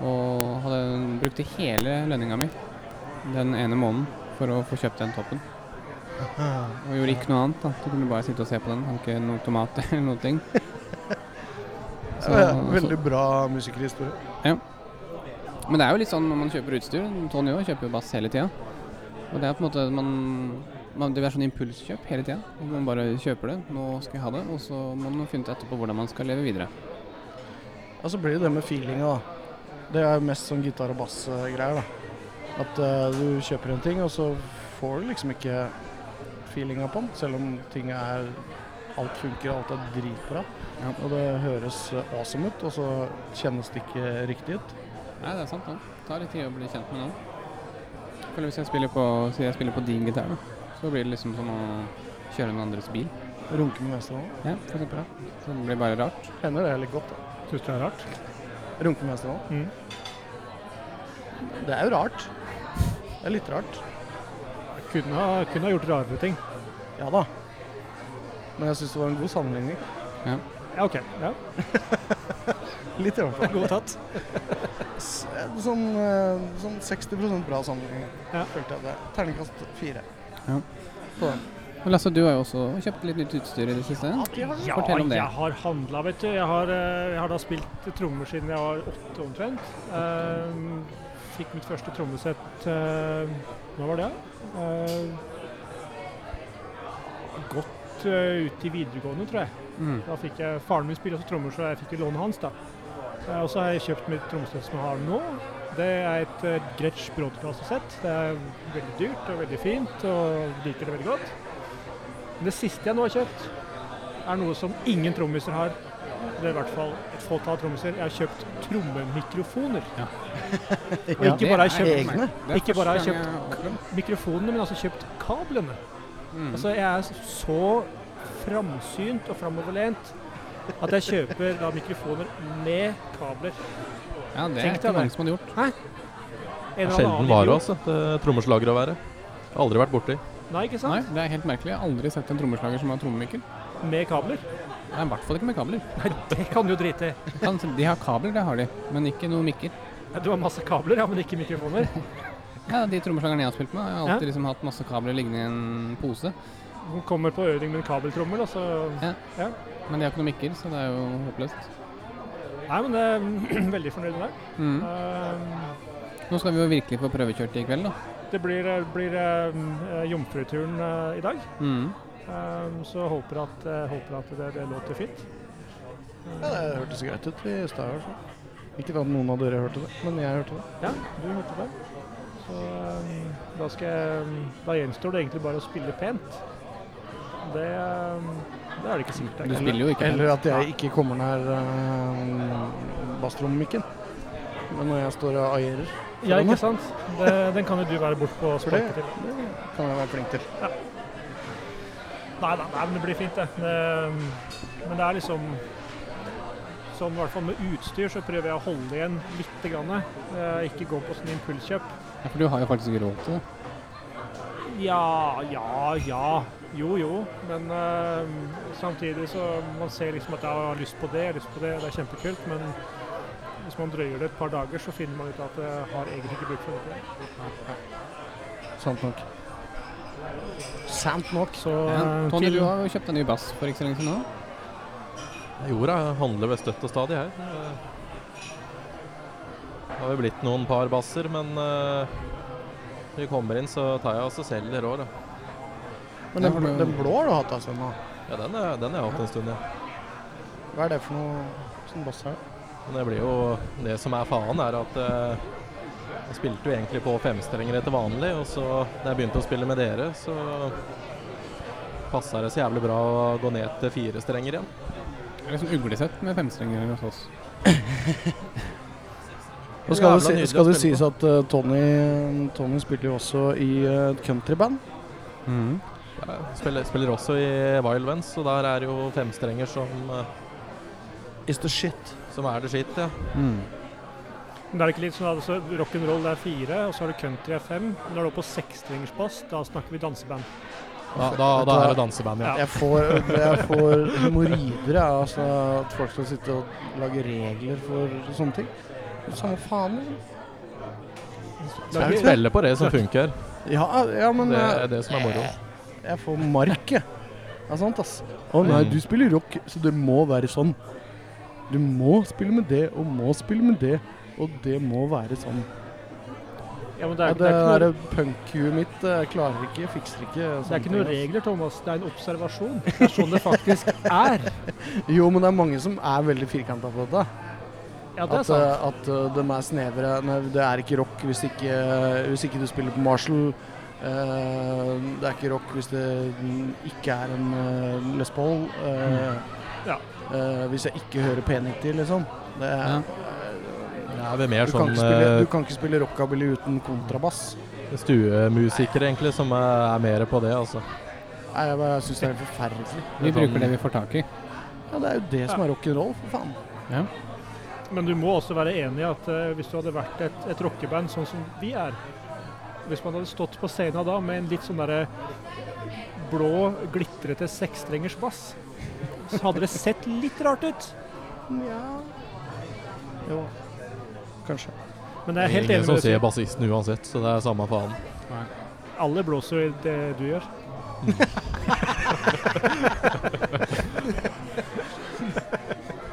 Speaker 2: Og hadde, brukte hele lønninga mi den ene måneden for å få kjøpt den toppen. Og gjorde ikke noe annet. da. Du kunne bare sitte og se på den. Hadde ikke noe tomat eller noen ting. Så-
Speaker 3: Veldig bra musikerhistorie.
Speaker 2: Men det er jo litt sånn når man kjøper utstyr. Tony òg kjøper jo bass hele tida. Og det er på en måte man, man Det er sånn impulskjøp hele tida. Man bare kjøper det. 'Nå skal jeg ha det.' Og så må man finne ut etterpå hvordan man skal leve videre.
Speaker 3: Ja, så blir det det med feelinga, da. Det er mest sånn gitar- og bass-greier, da. At eh, du kjøper en ting, og så får du liksom ikke feelinga på den, selv om ting er Alt funker, alt er dritbra.
Speaker 2: Ja.
Speaker 3: Og det høres eh, awesome ut, og så kjennes det ikke riktig ut.
Speaker 2: Nei, det er sant, det. Det tar litt tid å bli kjent med noen. Jeg føler hvis jeg spiller på, si jeg spiller på din gitar, da, så blir det liksom som å kjøre noen andres bil.
Speaker 3: Runke med venstrehånda.
Speaker 2: Ja, for eksempel. da. Så det blir bare rart.
Speaker 3: Hender det litt godt, da.
Speaker 4: Syns du det er rart?
Speaker 3: Runke med venstrehånda.
Speaker 4: Mm.
Speaker 3: Det er jo rart. Det er litt rart.
Speaker 4: Kunne ha, kunne ha gjort rarere ting.
Speaker 3: Ja da. Men jeg syns det var en god sammenligning.
Speaker 4: Ja, OK. Ja.
Speaker 3: Litt i hvert fall.
Speaker 4: Godt tatt.
Speaker 3: S- eh, Sånn, eh, sånn 60 bra sammenligning,
Speaker 4: Ja.
Speaker 3: følte jeg det. Terningkast fire.
Speaker 2: Ja.
Speaker 3: På den.
Speaker 2: Ja, Men Lasse, du har jo også kjøpt litt nytt utstyr i det siste.
Speaker 4: Ja,
Speaker 2: Fortell om det.
Speaker 4: jeg har handla, vet du. Jeg har, eh, jeg har da spilt trommer siden jeg var åtte omtrent. Ehm, fikk mitt første trommesett eh, Hva var det? Eh, godt eh, ut i videregående, tror jeg.
Speaker 2: Mm.
Speaker 4: Da fikk jeg, Faren min spiller også trommer, så jeg fikk jo lånet hans. da. Eh, Og så har jeg kjøpt mitt trommesett som jeg har nå. Det er et eh, Gretsch Broadcast-sett. Det er veldig dyrt og veldig fint, og liker det veldig godt. Men det siste jeg nå har kjøpt, er noe som ingen trommiser har. Det er i hvert fall et fåtall trommiser. Jeg har kjøpt trommemikrofoner. [laughs] Og
Speaker 3: Ja,
Speaker 4: ikke bare har jeg
Speaker 3: egne.
Speaker 4: kjøpt Ikke bare har jeg mikrofonene, men altså kjøpt kablene. Altså, jeg er så framsynt og framoverlent at jeg kjøper da mikrofoner med kabler.
Speaker 2: Ja, det er
Speaker 4: Tenk
Speaker 2: ikke
Speaker 4: deg
Speaker 2: mange
Speaker 4: det.
Speaker 2: som hadde gjort.
Speaker 4: En eller
Speaker 5: Sjelden
Speaker 4: annen
Speaker 5: vare,
Speaker 4: idiot-
Speaker 5: altså. et, eh, Trommeslager å være. Aldri vært borti.
Speaker 4: Nei, ikke
Speaker 2: Nei,
Speaker 4: sant?
Speaker 2: det er helt merkelig. Jeg har aldri sett en trommeslager som har trommemikker.
Speaker 4: Med kabler.
Speaker 2: Nei, i hvert fall ikke med kabler.
Speaker 4: Nei, det kan du jo drite i.
Speaker 2: Kan- De har kabler, det har de, men ikke noen mikker.
Speaker 4: Ja, Du har masse kabler, ja, men ikke mikrofoner.
Speaker 2: Ja, De trommeslagerne jeg har spilt med, jeg har
Speaker 4: Ja.
Speaker 2: alltid liksom hatt masse kabler liggende i en pose.
Speaker 4: Du kommer på øving med en kabeltrommel, og så
Speaker 2: Ja.
Speaker 4: Ja.
Speaker 2: Men de har ikke noen mikker, så det er jo håpløst.
Speaker 4: Nei, men jeg er [clears throat] veldig fornøyd med det.
Speaker 2: Mm.
Speaker 4: Ehm,
Speaker 2: Nå skal vi jo virkelig få prøvekjørt i kveld, da.
Speaker 4: Det blir, eh, blir ehm, eh, jomfruturen eh, i dag,
Speaker 2: Mm.
Speaker 4: Ehm, så jeg håper at, jeg håper at det, det låter fint.
Speaker 3: Ja, det hørtes greit ut i stad. i hvert fall. Ikke at noen av dere hørte det, men jeg hørte det.
Speaker 4: Eh, Ja, du hørte det. Så ehm, da, skal jeg, eh, da gjenstår det egentlig bare å spille pent. Det, ehm, det er det ikke sikkert.
Speaker 2: Du
Speaker 4: jeg kan.
Speaker 2: spiller jo ikke
Speaker 3: Eller at jeg ikke kommer nær uh, basstrommemikken. Men når jeg står og aierer,
Speaker 4: Ja, ikke sant? Det, den kan jo du være bortpå og
Speaker 3: For det-
Speaker 4: sparke til.
Speaker 3: kan jeg være flink til.
Speaker 4: Nei, nei, nei, men det blir fint, det. Ehm, Men det er liksom Sånn i hvert fall med utstyr så prøver jeg å holde igjen litt. Grann. Eh, Ikke gå på sånn impulskjøp.
Speaker 2: Ja, for du har jo faktisk råd til det.
Speaker 4: Ja, ja, ja. Jo, jo. Men eh, samtidig så Man ser liksom at jeg har lyst på det, jeg har lyst på det, det er kjempekult. Men hvis man drøyer det et par dager, så finner man ut at jeg har egentlig ikke bruk for det.
Speaker 3: Sant nok. Sant nok.
Speaker 4: Så
Speaker 2: Ja.
Speaker 4: eh,
Speaker 2: Tony,
Speaker 4: til,
Speaker 2: du har jo kjøpt en ny bass for ikke så lenge siden nå.
Speaker 5: Jorda handler ved støtt og stadig her. Det har jo blitt noen par basser, men eh, vi kommer inn, så tar jeg også selv i rår. da.
Speaker 3: Men den, bl- den blå har du hatt altså, av Sven, da.
Speaker 5: Ja, den er- den har jeg hatt en stund, ja.
Speaker 3: Hva er det for noe sånn bass her?
Speaker 5: Men det blir jo Det som er faen, er at eh, jeg spilte jo egentlig på femstrenger etter vanlig, og så da jeg begynte å spille med dere, så passa det så jævlig bra å gå ned til fire strenger igjen.
Speaker 2: Det er sånn uglesett med femstrenger hos oss.
Speaker 3: Og skal det,
Speaker 5: Jævla
Speaker 3: si,
Speaker 5: nydelig
Speaker 3: skal
Speaker 5: å
Speaker 3: det
Speaker 5: spille
Speaker 3: sies at eh, Tony, Tony spilte jo også i eh, et countryband.
Speaker 2: Mm.
Speaker 5: Ja, jeg spiller, spiller også i Wild Vents, og der er det jo femstrenger som, eh,
Speaker 3: Is the shit.
Speaker 5: som er det skitt, ja.
Speaker 2: Mm.
Speaker 4: men det er ikke litt sånn at altså, rock'n'roll det er fire, og så har du country er fem. Men når du er oppe på sekstrengersbass, da snakker vi danseband.
Speaker 5: Da, da, da er det danseband, ja.
Speaker 4: Ja.
Speaker 3: Jeg får, jeg får hemoroider jeg, altså, at folk skal sitte og lage regler for sånne ting. Samme faen. liksom.
Speaker 4: Det er
Speaker 5: Vi
Speaker 4: ikke,
Speaker 5: spiller på det som funker.
Speaker 3: Ja, ja, men
Speaker 5: Det
Speaker 3: eh,
Speaker 5: er det som er moro.
Speaker 3: jeg får mark, jeg. Det er sant, ass. Å nei,
Speaker 5: Mm.
Speaker 3: du spiller rock, så det må være sånn. Du må spille med det, og må spille med det, og det må være sånn.
Speaker 4: ja, men det
Speaker 3: Ja,
Speaker 4: er,
Speaker 3: det
Speaker 4: det er ikke
Speaker 3: der
Speaker 4: noe
Speaker 3: punk-huet mitt eh, klarer ikke, fikser ikke
Speaker 4: det er
Speaker 3: sånne
Speaker 4: ikke noen
Speaker 3: ting,
Speaker 4: regler, Thomas. Det er en observasjon. Det er sånn det faktisk er.
Speaker 3: ass. Jo, men det er mange som er veldig firkanta på dette.
Speaker 4: [laughs] Ja, det er
Speaker 3: At,
Speaker 4: sant.
Speaker 3: eh, at eh, de er snevre. Nei, det er ikke rock hvis ikke, eh, hvis ikke du spiller på Marshall. Eh, det er ikke rock hvis det ikke er en uh, Les Paul. eh,
Speaker 4: Ja.
Speaker 3: eh, hvis jeg ikke hører P90, liksom. Det er, eh,
Speaker 2: Ja.
Speaker 5: Det er vel
Speaker 3: du,
Speaker 5: mer
Speaker 3: kan
Speaker 5: sånn
Speaker 3: ikke spille, du kan ikke spille rockabilly uten kontrabass.
Speaker 5: eh, stuemusikere, egentlig, som er, er mer på det, altså.
Speaker 3: Nei, jeg bare syns det er forferdelig.
Speaker 2: Vi bruker det vi får tak i.
Speaker 3: Ja, det er jo det som er rock'n'roll, for faen.
Speaker 4: Men du må også være enig i at eh, hvis du hadde vært et, et rockeband sånn som vi er Hvis man hadde stått på scenen da med en litt sånn derre blå, glitrete sekstrengers bass, så hadde det sett litt rart ut.
Speaker 3: Nja Jo, kanskje.
Speaker 4: Men
Speaker 5: Det
Speaker 4: jeg er
Speaker 5: er
Speaker 4: helt
Speaker 5: ingen
Speaker 4: enig
Speaker 5: som
Speaker 4: med
Speaker 5: ser
Speaker 4: deg.
Speaker 5: bassisten uansett, så det er samme faen.
Speaker 4: Alle blåser i det du gjør.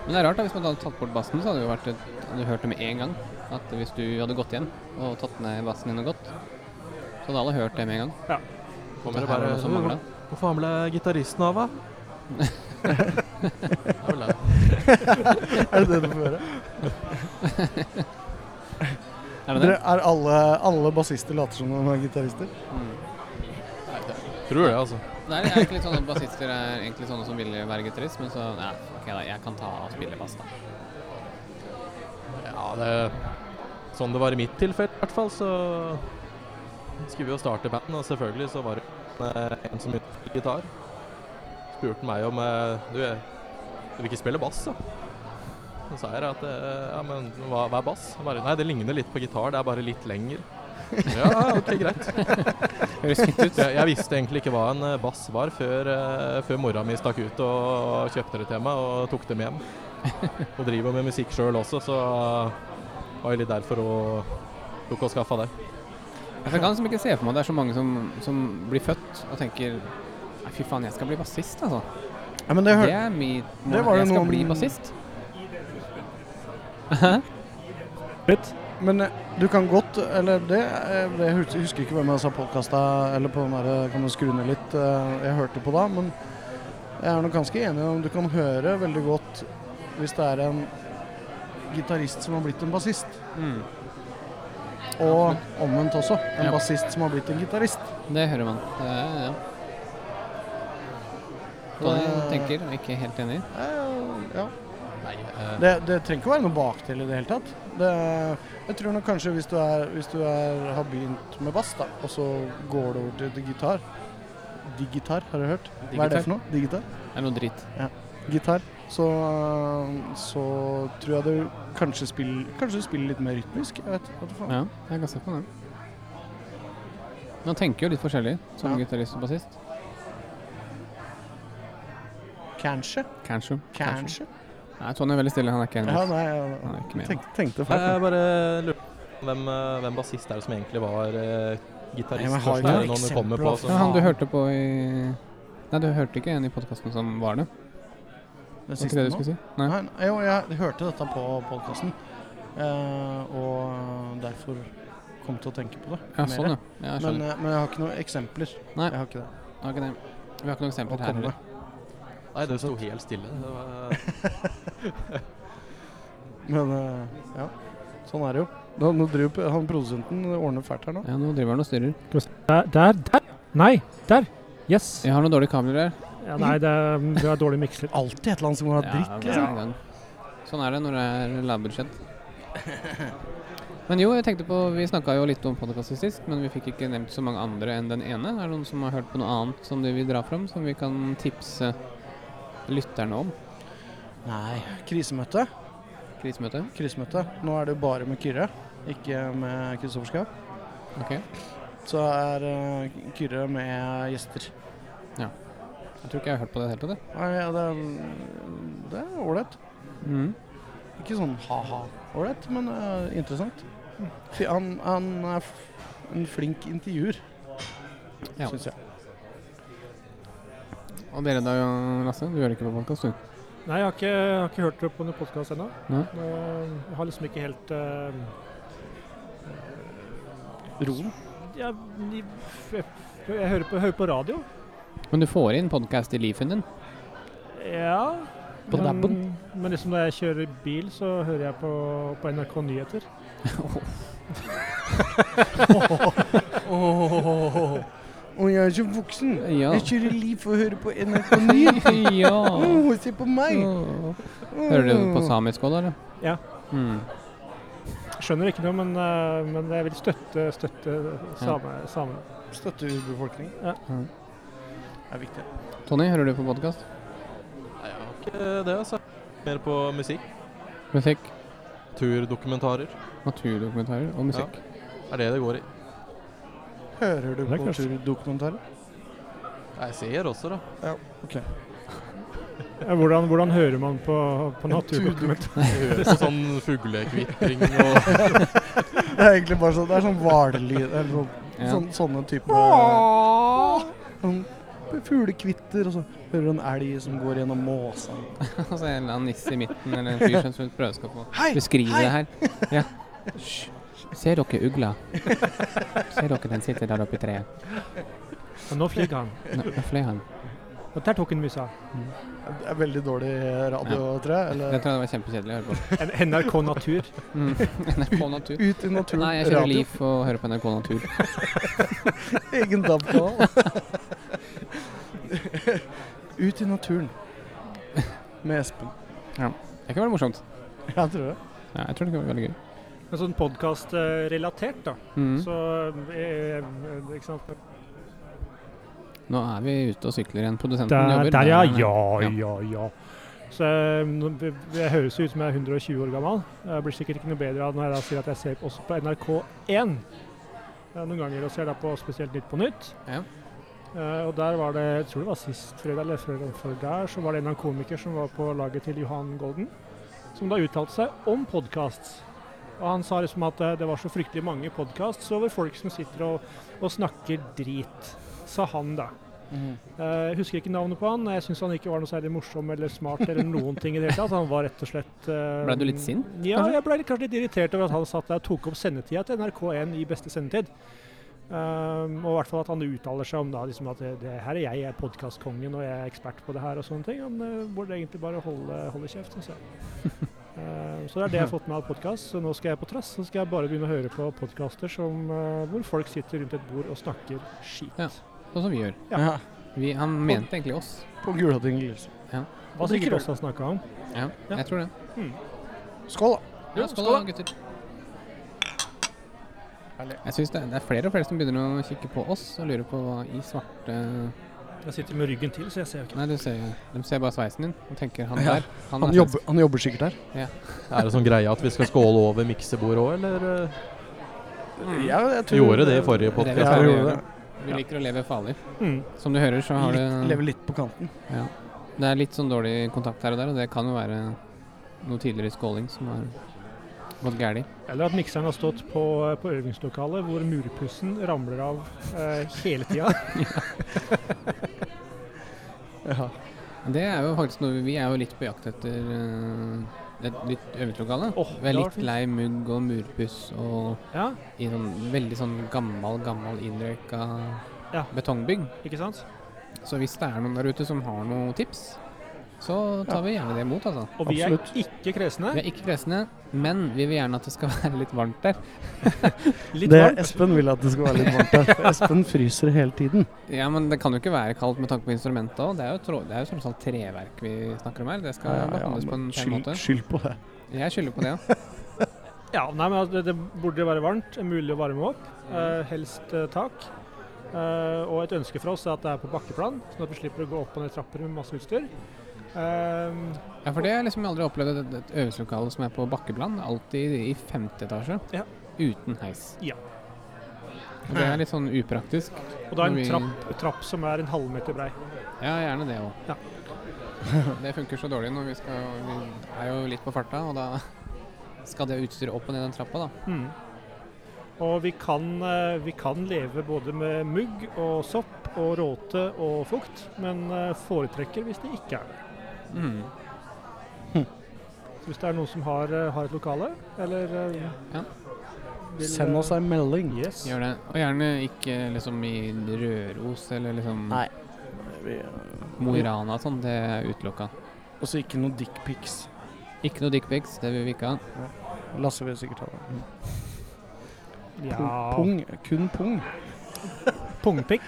Speaker 2: Men det er rart da, hvis man hadde tatt bort bassen, så hadde det jo vært et, hadde du hørt det med en gang. At hvis du hadde gått hjem og tatt ned bassen din og gått, så hadde alle hørt det med en gang.
Speaker 5: Kommer det
Speaker 2: Dette var
Speaker 5: bare
Speaker 2: noe som manglet.
Speaker 5: Hvorfor har med deg gitaristen av, da? Det er vel det.
Speaker 3: Er det det du får høre?
Speaker 2: [laughs] Er det det?
Speaker 3: Dere er alle, alle bassister later som de er gitarister?
Speaker 2: Mm.
Speaker 5: Tror det, altså.
Speaker 2: Nei, det er egentlig litt sånn at bassister er egentlig sånne som vil være gitarist, men så Nei, ok da, jeg kan ta og spille bass, da.
Speaker 5: Ja, det Sånn det var i mitt tilfelle, i hvert fall, så skulle vi jo starte banden, og selvfølgelig så var det eh, en som begynte på gitar. Spurte meg om eh, Du, jeg du vil ikke spille bass, da? Så sa jeg at eh, Ja, men hva, hva er bass? Han Bare, Nei, det ligner litt på gitar, det er bare litt
Speaker 2: [laughs]
Speaker 5: lenger. Ja, ok, greit.
Speaker 2: Høres fint ut.
Speaker 5: Jeg, jeg visste egentlig ikke hva en eh, bass var før, eh, før mora mi stakk ut og kjøpte det til meg og tok det med hjem. Hun driver jo med musikk sjøl også, så det var jo litt derfor hun tok og skaffa det.
Speaker 2: Jeg kan liksom ikke se for meg at det er så mange som, som blir født og tenker Nei, fy faen, jeg skal bli bassist, altså.
Speaker 3: Ja, men det,
Speaker 2: Det
Speaker 3: hør,
Speaker 2: er mitt mål.
Speaker 3: det var
Speaker 2: Jeg
Speaker 3: jo
Speaker 2: skal
Speaker 3: noen-
Speaker 2: bli bassist.
Speaker 3: men eh, du kan godt Eller det, eh, det hus- jeg husker ikke hvem jeg sa podkasta Eller på den der Kan du skru ned litt? eh, Jeg hørte på da, men jeg er nok ganske enig om du kan høre veldig godt hvis det er en gitarist som har blitt en bassist.
Speaker 2: Mm.
Speaker 3: Og omvendt også. En
Speaker 2: Ja.
Speaker 3: bassist som har blitt en gitarist.
Speaker 2: Det hører man. Det er, ja. Daniel tenker, er ikke helt enig.
Speaker 3: Eh, Ja.
Speaker 5: Nei, eh,
Speaker 3: Det, det trenger ikke å være noe bakdel i det hele tatt. Det, jeg tror nok kanskje hvis du, er, hvis du er, har begynt med bass, da, og så går det over til di- gitar Digitar, har du hørt? Hva er det
Speaker 2: Digitar?
Speaker 3: for noe? Digitar?
Speaker 2: Det er noe dritt.
Speaker 3: Gitar. Så, så tror jeg du kanskje spiller, kanskje du spiller litt mer rytmisk. Jeg vet hva faen.
Speaker 2: Ja, jeg kan se på den. Man tenker jo litt forskjellig som
Speaker 3: Ja.
Speaker 2: gitarist og bassist.
Speaker 3: Kanskje.
Speaker 2: Kanskje.
Speaker 3: Kanskje.
Speaker 2: Nei, Tony er veldig stille. Han er ikke enig. med
Speaker 3: Ja,
Speaker 2: oss.
Speaker 3: nei,
Speaker 2: Han
Speaker 3: jeg
Speaker 2: er ikke med.
Speaker 3: tenk, tenkte
Speaker 5: Nei, Eh,
Speaker 3: feil.
Speaker 5: jeg bare lurer på hvem, eh, hvem bassist er det som egentlig var eh,
Speaker 3: Nei,
Speaker 5: gitarist
Speaker 3: men jeg har
Speaker 5: først?
Speaker 3: jo
Speaker 5: Er det
Speaker 3: noen
Speaker 5: noen du
Speaker 3: eksempler,
Speaker 5: kommer på
Speaker 3: altså.
Speaker 5: som
Speaker 2: Ja, han du hørte på i Nei, du hørte ikke en i podkasten som var det.
Speaker 3: Det
Speaker 2: Var ikke det du skulle si? Nei.
Speaker 3: Nei, nei, jo, jeg hørte dette på podkasten, eh, og derfor kom til å tenke på det.
Speaker 2: Ja,
Speaker 3: mer.
Speaker 2: sånn, ja. ja jeg
Speaker 3: Men,
Speaker 2: skjønner.
Speaker 3: eh, men jeg har ikke noen eksempler.
Speaker 2: Nei.
Speaker 3: Jeg har ikke det.
Speaker 2: Det var ikke det. Vi har ikke noe
Speaker 3: Å
Speaker 2: eksempel her
Speaker 3: komme
Speaker 2: heller.
Speaker 3: med.
Speaker 5: Nei, det sto helt stille. Det var, eh,
Speaker 3: Men eh, ja, sånn er det jo. Nå, nå driver p- han produsenten ordner fælt her nå.
Speaker 2: Ja, nå driver han og styrer.
Speaker 4: Der, der, der. Nei, der. Yes.
Speaker 2: Vi har noen dårlige kabler her.
Speaker 4: Ja, nei, det, det er dårlig mikset.
Speaker 3: Alltid et eller annet som går av dritt.
Speaker 2: hver
Speaker 4: liksom.
Speaker 2: gang. Sånn er det når det er lavbudsjett. Men jo, jeg tenkte på Vi snakka jo litt om podkasten sist, men vi fikk ikke nevnt så mange andre enn den ene. Er det noen som har hørt på noe annet som de vil dra fram, som vi kan tipse lytterne om?
Speaker 3: Nei. Krisemøte.
Speaker 2: Krisemøte?
Speaker 3: Krisemøte. Nå er det jo bare med Kyrre, ikke med Kristoffer Schau.
Speaker 2: Ok.
Speaker 3: Så er eh, Kyrre med gjester.
Speaker 2: Jeg tror ikke jeg har hørt på det i det hele tatt. jeg.
Speaker 3: Nei, ja, det er det er ålreit.
Speaker 2: Mm.
Speaker 3: Ikke sånn ha-ha-ålreit, men eh, interessant. Fy- Han, han er f en flink intervjuer,
Speaker 2: Ja.
Speaker 3: syns jeg.
Speaker 2: Og dere da, Lasse? Du hører ikke på podkast, du?
Speaker 4: Nei, jeg har ikke, jeg har ikke hørt det på noen podkast ennå.
Speaker 2: Nei.
Speaker 4: Nå- Jeg har liksom ikke helt eh,
Speaker 3: Roen.
Speaker 4: jeg, jeg, jeg, jeg hører, på, hører på radio.
Speaker 2: Men du får inn podkast i livet din?
Speaker 4: Ja.
Speaker 2: På
Speaker 4: men-
Speaker 2: dabben.
Speaker 4: Men liksom når jeg kjører bil, så hører jeg på, på NRK Nyheter.
Speaker 3: Og jeg er så voksen.
Speaker 2: Ja.
Speaker 3: Jeg kjører liv for å høre på NRK Nyheter.
Speaker 2: [laughs] ja.
Speaker 3: Åh, se på meg!
Speaker 2: Åh. Hører du på samisk òg, da? eller?
Speaker 4: Ja.
Speaker 2: Mm.
Speaker 4: Skjønner ikke noe, men, eh, men jeg vil støtte, støtte same, samene.
Speaker 3: Støtter urbefolkningen.
Speaker 4: Ja.
Speaker 2: Mm.
Speaker 3: Det er viktig.
Speaker 2: Tony, hører du på podkast?
Speaker 5: Nei, jeg har ikke det, altså. Mer på musikk.
Speaker 2: Musikk?
Speaker 5: Turdokumentarer.
Speaker 2: Naturdokumentarer og musikk.
Speaker 5: Er det det går i.
Speaker 3: Hører du
Speaker 4: Det er
Speaker 3: på
Speaker 4: kanskje-
Speaker 3: turdokumentarer?
Speaker 5: Nei, Jeg ser også, da.
Speaker 4: Ja, Eh, Hvordan, hvordan hører man på, på naturdokument?
Speaker 5: Det høres sånn fuglekvitring og
Speaker 3: [laughs] Det er egentlig bare
Speaker 2: [laughs]
Speaker 3: sånn Det er sånn hvalelyd. eller Sånn,
Speaker 2: Ja.
Speaker 3: sånn, sånne type sånn, fuglekvitter, og så hører du en elg som går gjennom måsa.
Speaker 2: Og så er det Altså, en eller annen nisse i midten eller en fyr som- som prøver skal få
Speaker 3: Hei!
Speaker 2: beskrive
Speaker 3: hei!
Speaker 2: det her.
Speaker 3: [laughs]
Speaker 2: Ja. Hysj. Ser dere ugla? Ser dere den sitter der oppe i treet?
Speaker 4: Og nå flyr
Speaker 2: [laughs]
Speaker 4: han.
Speaker 2: Nå, nå fløy han.
Speaker 4: Og der tok han musa.
Speaker 3: Det er veldig dårlig radio, tror jeg.
Speaker 2: Det
Speaker 3: Eller
Speaker 2: tror jeg var kjempekjedelig å høre på.
Speaker 4: En- NRK Natur.
Speaker 2: Mm. [laughs] NRK Natur.
Speaker 3: ut i naturen.
Speaker 2: Nei, jeg kjører
Speaker 3: radio.
Speaker 2: Leaf og hører på NRK Natur.
Speaker 3: Egen DAB-kanal. Ut i naturen. Med Espen.
Speaker 2: Det kan være morsomt.
Speaker 3: Jeg tror det.
Speaker 2: Ja, jeg tror det kan være veldig gøy.
Speaker 4: Men sånn podkast-relatert, da.
Speaker 2: Mm.
Speaker 4: Så eh, eh, ikke sant?
Speaker 2: Nå er vi ute og sykler igjen. Produsenten
Speaker 4: Der,
Speaker 2: liksom. jobber.
Speaker 4: der, ja.
Speaker 2: er-
Speaker 4: Ja, ja, ja. Så eh, nå- b- b- jeg høres jo ut som jeg er 120 år gammel. Jeg blir sikkert ikke noe bedre av når jeg da sier at jeg ser også på NRK1 eh, noen ganger, og ser da på spesielt Nytt på Nytt.
Speaker 2: Ja.
Speaker 4: Eh, og der var det, jeg tror det var sist fredag eller fredag før der, så var det en eller annen komiker som var på laget til Johan Golden, som da uttalte seg om podkast. Og han sa liksom at eh, det var så fryktelig mange podkasts over folk som sitter og, og snakker drit, sa han da. Eh, Jeg husker ikke navnet på han. Jeg syns han ikke var noe særlig morsom eller smart eller noen ting i det hele tatt. Han var rett og slett eh,
Speaker 2: Ble du litt sint,
Speaker 4: Ja,
Speaker 2: kanskje?
Speaker 4: jeg ble litt- kanskje litt irritert over at han satt der og tok opp sendetida til NRK1 i beste sendetid. Um, og i hvert fall at han uttaler seg om da, liksom at det, det her er jeg, jeg er podkastkongen og jeg er ekspert på det her og sånne ting. Han eh, burde egentlig bare holde, holde kjeft, syns jeg.
Speaker 2: [laughs]
Speaker 4: Eh, så det er det jeg har fått med av podkast. Så nå skal jeg på trass. Så skal jeg bare begynne å høre på podkaster som, eh, hvor folk sitter rundt et bord og snakker skit.
Speaker 2: Ja. Sånn som vi gjør.
Speaker 4: Ja.
Speaker 3: Ja.
Speaker 2: Vi, han mente egentlig oss.
Speaker 3: På liksom. Gulating Lilsen.
Speaker 4: Hva
Speaker 3: Og drikker
Speaker 4: sikkert
Speaker 3: øl.
Speaker 4: også har snakka om.
Speaker 2: Ja,
Speaker 4: Ja.
Speaker 2: jeg tror det.
Speaker 3: Skål,
Speaker 2: Ja, skål da, gutter.
Speaker 3: Herlig.
Speaker 2: Jeg synes det, det er flere og flere som begynner å kikke på oss og lurer på hva i svarte
Speaker 4: Jeg sitter med ryggen til, så jeg ser jo ikke.
Speaker 2: Nei, du ser, de ser bare sveisen din og tenker han
Speaker 3: Ja.
Speaker 2: der.
Speaker 3: da.
Speaker 2: er
Speaker 3: Han jobber, han jobber sikkert her.
Speaker 5: Er det sånn greie at vi skal skåle over miksebordet òg, eller? eh?
Speaker 3: Ja, jeg
Speaker 5: Vi gjorde det i
Speaker 2: Det
Speaker 5: forrige
Speaker 2: er
Speaker 5: podcast
Speaker 2: det
Speaker 3: Ja,
Speaker 2: vi
Speaker 3: vi
Speaker 2: gjør.
Speaker 3: gjorde det.
Speaker 2: Vi liker å leve farlig.
Speaker 4: Mm.
Speaker 2: Som du hører, så har
Speaker 3: Litt,
Speaker 2: du
Speaker 3: lever litt på kanten.
Speaker 2: Det er litt sånn dårlig kontakt her og der, og det kan jo være noe tidligere skåling som har gått galt.
Speaker 4: Eller at mikseren har stått på, eh, på øvingslokalet hvor murpussen ramler av eh, hele tida.
Speaker 3: Ja.
Speaker 2: Det er jo faktisk noe Vi er jo litt på jakt etter eh, et nytt øvingslokale.
Speaker 4: Åh,
Speaker 2: Vi er
Speaker 4: det var
Speaker 2: litt
Speaker 4: fint.
Speaker 2: lei mugg og murpuss og
Speaker 4: ja,
Speaker 2: i sånn veldig sånn gammel, gammel innrøyka
Speaker 4: Ja.
Speaker 2: betongbygg.
Speaker 4: ikke sant?
Speaker 2: Så hvis det er noen der ute som har noen tips, så tar vi gjerne det imot, altså.
Speaker 4: Og vi
Speaker 3: Absolutt.
Speaker 4: er ikke kresne.
Speaker 2: Vi er ikke kresne, men vi vil gjerne at det skal [laughs] være litt varmt der.
Speaker 4: Litt
Speaker 3: Det
Speaker 4: varmt.
Speaker 3: Espen vil at det skal være litt varmt her.
Speaker 4: [laughs]
Speaker 3: for Espen fryser hele tiden.
Speaker 2: Ja, men det kan jo ikke være kaldt med tanke på instrumentet òg. Det er jo trå- det er jo tross alt treverk vi snakker om her. Det skal behandles på en pen
Speaker 3: skyld,
Speaker 2: måte.
Speaker 3: skyld på det.
Speaker 2: Jeg skylder på det, ja.
Speaker 4: Ja, nei, men altså, det, det burde være varmt. Mulig å varme opp. eh, helst eh, tak. Eh, og et ønske fra oss er at det er på bakkeplan, sånn at vi slipper å gå opp og ned trapper med masse utstyr. Eh,
Speaker 2: ja. For det har jeg liksom aldri opplevd et, et øvelseslokale som er på bakkeplan. Alltid i femte etasje.
Speaker 4: Ja.
Speaker 2: Uten heis.
Speaker 4: Ja.
Speaker 2: Og det er litt sånn upraktisk.
Speaker 4: og da en
Speaker 2: Men vi-
Speaker 4: trapp, trapp som er en halvmeter brei.
Speaker 2: Ja, gjerne det òg.
Speaker 4: Ja.
Speaker 2: [laughs] det funker så dårlig når vi skal Vi er jo litt på farta, og da skal det utstyret opp og ned den trappa, da.
Speaker 4: Mm. Og vi kan, eh, vi kan leve både med mugg og sopp og råte og fukt, men eh, foretrekker hvis det ikke er det.
Speaker 2: Mm.
Speaker 4: Så Hvis det er noen som har, eh, har et lokale, eller eh,
Speaker 2: Ja.
Speaker 4: vil,
Speaker 3: Send
Speaker 4: eh,
Speaker 3: oss ei melding.
Speaker 4: Yes.
Speaker 2: Gjør det. Og gjerne ikke liksom i Røros eller liksom
Speaker 3: Nei. Vi, eh,
Speaker 2: Mo i Rana og sånn. Det er utelukka.
Speaker 3: Også ikke noe dickpics.
Speaker 2: Ikke noe dickpics, det vil vi ikke ha.
Speaker 3: Lasse vil sikkert ha det.
Speaker 4: eh, Ja.
Speaker 3: Pung, kun pung.
Speaker 4: Pungpikk.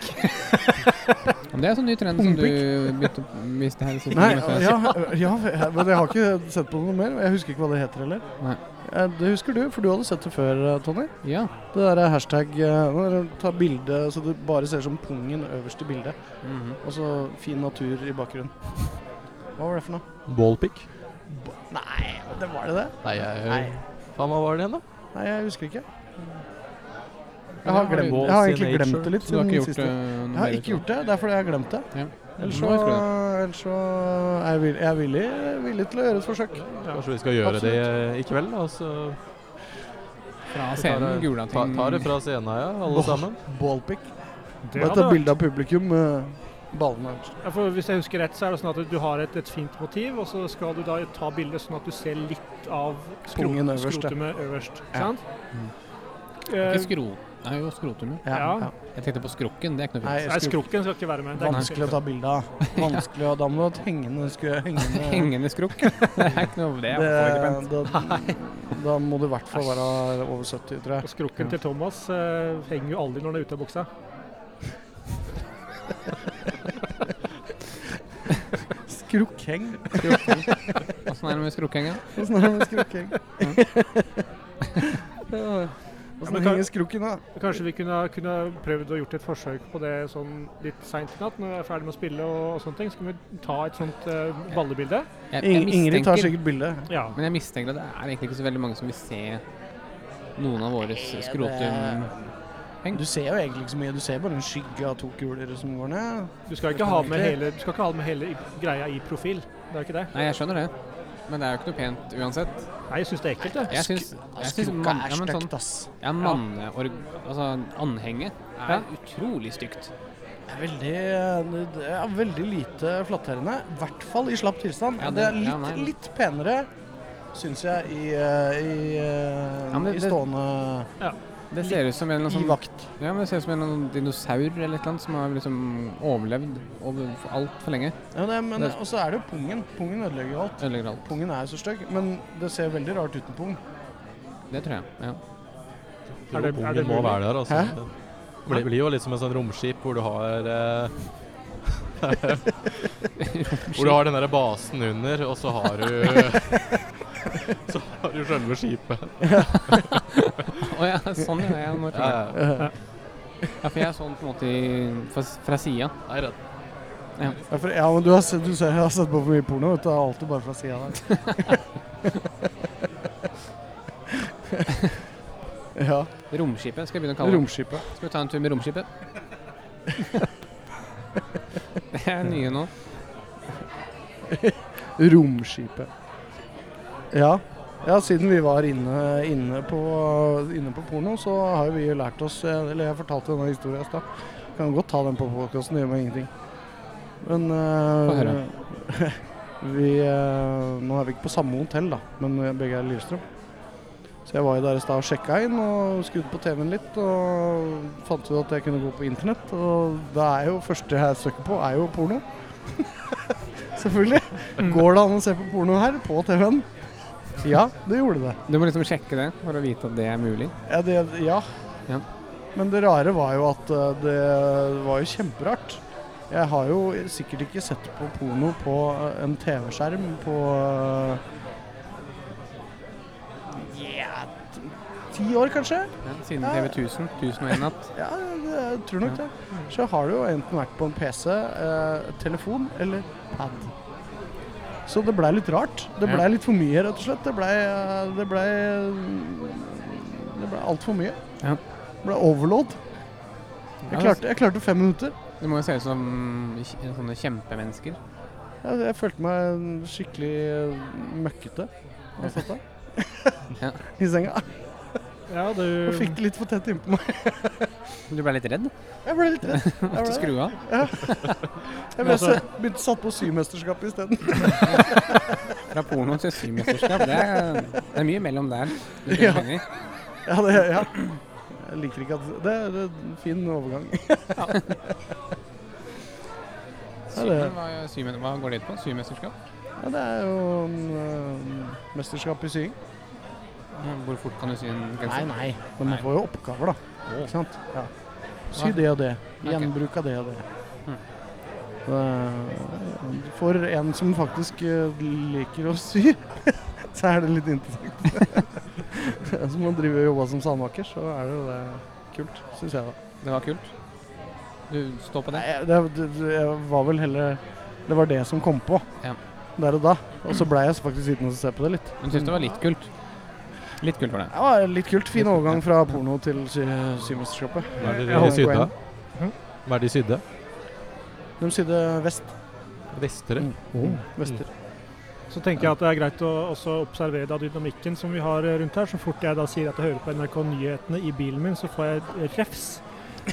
Speaker 2: Men det er sånn ny trend som du begynte å miste her. i siste
Speaker 3: Nei,
Speaker 2: minutt.
Speaker 3: ja, ja, men jeg har ikke sett på noe mer. og Jeg husker ikke hva det heter heller.
Speaker 2: Nei.
Speaker 3: Eh, Det husker du, for du hadde sett det før, eh, Tony.
Speaker 2: ja.
Speaker 3: Det der er hashtag eh, nå er det Ta bilde så du bare ser som pungen øverst i bildet,
Speaker 2: Mhm.
Speaker 3: og så fin natur i bakgrunnen. Hva var det for noe?
Speaker 5: Ballpick?
Speaker 3: Nei, det var det det?
Speaker 5: Nei, jeg
Speaker 3: Nei.
Speaker 5: Faen, hva var det igjen, da?
Speaker 3: Nei, jeg husker ikke.
Speaker 2: Ja,
Speaker 3: Jeg har,
Speaker 2: har du-
Speaker 3: glemt, jeg har eh, egentlig
Speaker 5: Balls in
Speaker 3: glemt det litt
Speaker 2: Så du har
Speaker 3: siden
Speaker 2: ikke gjort eh, sånn.
Speaker 3: siste.
Speaker 2: det?
Speaker 3: Jeg har ikke gjort det, det er fordi jeg har glemt det. Ellers så, ellers så er jeg villig, jeg er villig, eh, villig til å gjøre et forsøk.
Speaker 5: Kanskje vi skal gjøre
Speaker 3: Absolutt.
Speaker 5: det eh, i kveld, da? Så
Speaker 2: Fra
Speaker 5: vi tar
Speaker 2: scenen,
Speaker 5: det-
Speaker 2: gula
Speaker 5: ta-
Speaker 2: ting.
Speaker 5: tar det fra scenen, ja, alle
Speaker 3: Åh.
Speaker 5: sammen.
Speaker 3: Ballpic.
Speaker 4: Det
Speaker 3: Bare ta
Speaker 4: hadde vært
Speaker 3: bilde av publikum. eh, Ballene øverst.
Speaker 4: Ja, for hvis jeg husker rett, så er det sånn at du har et, et fint motiv, og så skal du da ta bildet sånn at du ser litt av skrot-
Speaker 3: Pungen øverst, ja.
Speaker 4: skrotumet øverst. Ikke
Speaker 3: Ja.
Speaker 4: sant?
Speaker 2: Mm.
Speaker 4: Eh,
Speaker 2: Ikke skro... Nei, jo, skrotum, jo.
Speaker 4: Ja.
Speaker 2: Jeg tenkte på skrukken, det er ikke noe
Speaker 3: Nei,
Speaker 2: fint.
Speaker 4: Nei,
Speaker 3: skrot-
Speaker 4: skrukken skal ikke være med. Det er ikke-
Speaker 3: Vanskelig å ta bilde av. Vanskelig å Da må du ha et hengende skue. Hengende
Speaker 2: Hengende skrukk. [laughs] Det er ikke noe Det er i hvert fall ikke pent.
Speaker 3: da, da må du i hvert fall være over 70, tror
Speaker 4: Og
Speaker 3: jeg.
Speaker 4: skrukken til Thomas eh, henger jo aldri når han er ute av buksa.
Speaker 3: Skrukkheng.
Speaker 2: Åssen er det med skrukkhenga?
Speaker 3: Åssen er det med skrukheng?
Speaker 2: Mm.
Speaker 4: men
Speaker 3: Åssen
Speaker 4: kan-
Speaker 3: henger skrukken, da?
Speaker 4: Kanskje vi kunne, kunne prøvd å gjort et forsøk på det sånn litt seint i natt, når vi er ferdig med å spille og, og sånne ting. Så kan vi ta et sånt eh, ballebilde.
Speaker 2: Jeg, jeg
Speaker 3: Ing- Ingrid tar
Speaker 2: mistenker-
Speaker 3: sikkert bilde.
Speaker 4: Ja.
Speaker 2: Men jeg mistenker at det er egentlig ikke så veldig mange som vil se noen av våre skrotum...
Speaker 3: Du ser jo egentlig ikke så mye. Du ser bare en skygge av to kuler som går ned.
Speaker 4: Du skal ikke ha med hele, du skal ikke ha med hele i- greia i profil. Det er ikke det.
Speaker 2: Nei, jeg skjønner det. Men det er jo ikke noe pent uansett.
Speaker 4: Nei, jeg syns det er ekkelt, det.
Speaker 2: Jeg syns, jeg syns
Speaker 3: Skrukka
Speaker 2: mann, ja,
Speaker 3: er
Speaker 2: men sånn,
Speaker 3: stygt, ass.
Speaker 2: ja, manneorg... Altså, anhenget er
Speaker 4: Ja.
Speaker 2: utrolig stygt.
Speaker 3: Det er veldig, det er veldig lite flatterende. I hvert fall i slapp tilstand.
Speaker 2: Ja,
Speaker 3: det,
Speaker 2: det-
Speaker 3: er
Speaker 2: ja,
Speaker 3: litt,
Speaker 2: nei, nei.
Speaker 3: litt penere, syns jeg, i, eh, i, eh,
Speaker 2: Ja, men
Speaker 3: i
Speaker 2: det-
Speaker 3: stående
Speaker 2: Det ser ut som en eller
Speaker 3: I
Speaker 2: annen sånn,
Speaker 3: vakt.
Speaker 2: ja, men det ser ut som en eller annen dinosaur eller et eller annet som har liksom overlevd over altfor lenge.
Speaker 3: Ja, men det, men,
Speaker 2: Det-
Speaker 3: og så er det jo pungen. Pungen ødelegger jo alt.
Speaker 2: Ødelegger alt.
Speaker 3: Pungen er jo så stygg, men det ser veldig rart uten pung.
Speaker 2: Det tror jeg. Ja. [laughs]
Speaker 4: Er
Speaker 5: Er
Speaker 4: det- er
Speaker 5: pungen
Speaker 4: det
Speaker 5: må
Speaker 4: mulig?
Speaker 5: være der, altså.
Speaker 3: Hæ?
Speaker 5: Det blir, blir jo litt som et sånt romskip hvor du har eh, Hvor du har den der basen under, og så har du Så har du selve skipet.
Speaker 2: Å ja, sånn ja. Jeg må
Speaker 5: Ja,
Speaker 2: ja,
Speaker 5: ja.
Speaker 2: for jeg er sånn på en måte i- fra, fra sida.
Speaker 5: Nei, rett.
Speaker 3: Ja, for, ja, men du har, sett, du ser, jeg har sett på for mye porno. Vet du, det er alltid bare fra sida der.
Speaker 2: [laughs]
Speaker 3: [laughs] ja.
Speaker 2: Romskipet skal jeg begynne å kalle det.
Speaker 3: Romskipet.
Speaker 2: Skal vi ta en tur med romskipet? [laughs] det er nye nå.
Speaker 3: Romskipet. Ja. ja, siden vi var inne, inne, på, inne på porno, så har jo vi lært oss Eller jeg fortalte denne historien i stad. Kan godt ta den på podkasten, det gjør meg ingenting. Men eh,
Speaker 2: Få høre.
Speaker 3: [laughs] vi, eh, Nå er vi ikke på samme hotell, da, men vi er begge er i Lillestrøm. Så jeg var jo der i stad og sjekka inn og skrudde på TV-en litt. Og fant ut at jeg kunne gå på internett. Og det er jo første jeg søker på, er jo porno. [laughs] Selvfølgelig. Går det an å se på porno her på TV-en? Ja, det gjorde det.
Speaker 2: Du må liksom sjekke det for å vite at det er mulig.
Speaker 3: Ja. det, ja.
Speaker 2: Ja.
Speaker 3: Men det rare var jo at eh, det var jo kjemperart. Jeg har jo sikkert ikke sett på porno på eh, en TV-skjerm på eh, Ja, t- ti år kanskje?
Speaker 2: Ja, siden TV 1000. 1001 natt.
Speaker 3: Ja, det, jeg tror nok det. Så har det jo enten vært på en PC, eh, telefon eller pad. Så det blei litt rart. Det blei
Speaker 2: Ja.
Speaker 3: litt for mye, rett og slett. Det blei eh, Det blei det ble altfor mye.
Speaker 2: Ja. altså.
Speaker 3: Det blei overload. Jeg klarte, jeg klarte fem minutter.
Speaker 2: Det altså, må jo se ut som kj- sånne kjempemennesker.
Speaker 3: Jeg, jeg følte meg skikkelig eh, møkkete. da Jeg satt der.
Speaker 2: Ja.
Speaker 3: [laughs] I senga.
Speaker 4: Ja, du
Speaker 3: Jeg fikk det litt for tett innpå meg.
Speaker 2: Du ble litt redd? [laughs]
Speaker 3: Jeg ble litt redd. Jeg,
Speaker 2: Måtte
Speaker 3: ble, det.
Speaker 2: skru av?
Speaker 3: jeg ble så,
Speaker 2: Altså-
Speaker 3: begynte satt på symesterskapet isteden.
Speaker 2: Fra porno til symesterskap. Det, er- det er mye mellom der. Du er
Speaker 3: [laughs] Ja.
Speaker 2: enig?
Speaker 3: Ja, det, ja. Jeg liker ikke at Det er en fin overgang.
Speaker 2: Symen, hva, symen, hva går det ut på? Symesterskap?
Speaker 3: Ja, det er jo en, eh, mesterskap i sying.
Speaker 2: Ja, Hvor fort kan du sy en genser?
Speaker 3: nei. Men man
Speaker 2: Nei.
Speaker 3: får jo oppgaver, da. Ikke sant? Ja. Sy
Speaker 2: Nei.
Speaker 3: det og det.
Speaker 2: Ok.
Speaker 3: Gjenbruk av det og det.
Speaker 2: Mm.
Speaker 3: Det- For en som faktisk eh, liker å sy, [laughs] så er det litt interessant. [laughs] Som man driver og jobber som sandmaker, så er det jo det kult, syns jeg, da.
Speaker 2: Det var kult. Du står på det?
Speaker 3: Nei, det, det, det var vel heller Det var det som kom på
Speaker 2: Ja.
Speaker 3: der og da. Og så blei jeg faktisk sittende og se på det litt.
Speaker 2: Men syns det var litt kult? Litt kult var det.
Speaker 3: Det var litt kult. Fin overgang fra porno til sy symesterskapet.
Speaker 5: Hva er det
Speaker 4: Jeg
Speaker 5: de
Speaker 4: håper
Speaker 3: det
Speaker 5: sydde?
Speaker 3: går
Speaker 4: igjen.
Speaker 5: Hva er det de sydde?
Speaker 3: De sydde vest.
Speaker 5: Vestre?
Speaker 3: Vester.
Speaker 4: Så tenker jeg at det er greit å også observere da dynamikken som vi har eh, rundt her. Så fort jeg da sier at jeg hører på NRK Nyhetene i bilen min, så får jeg refs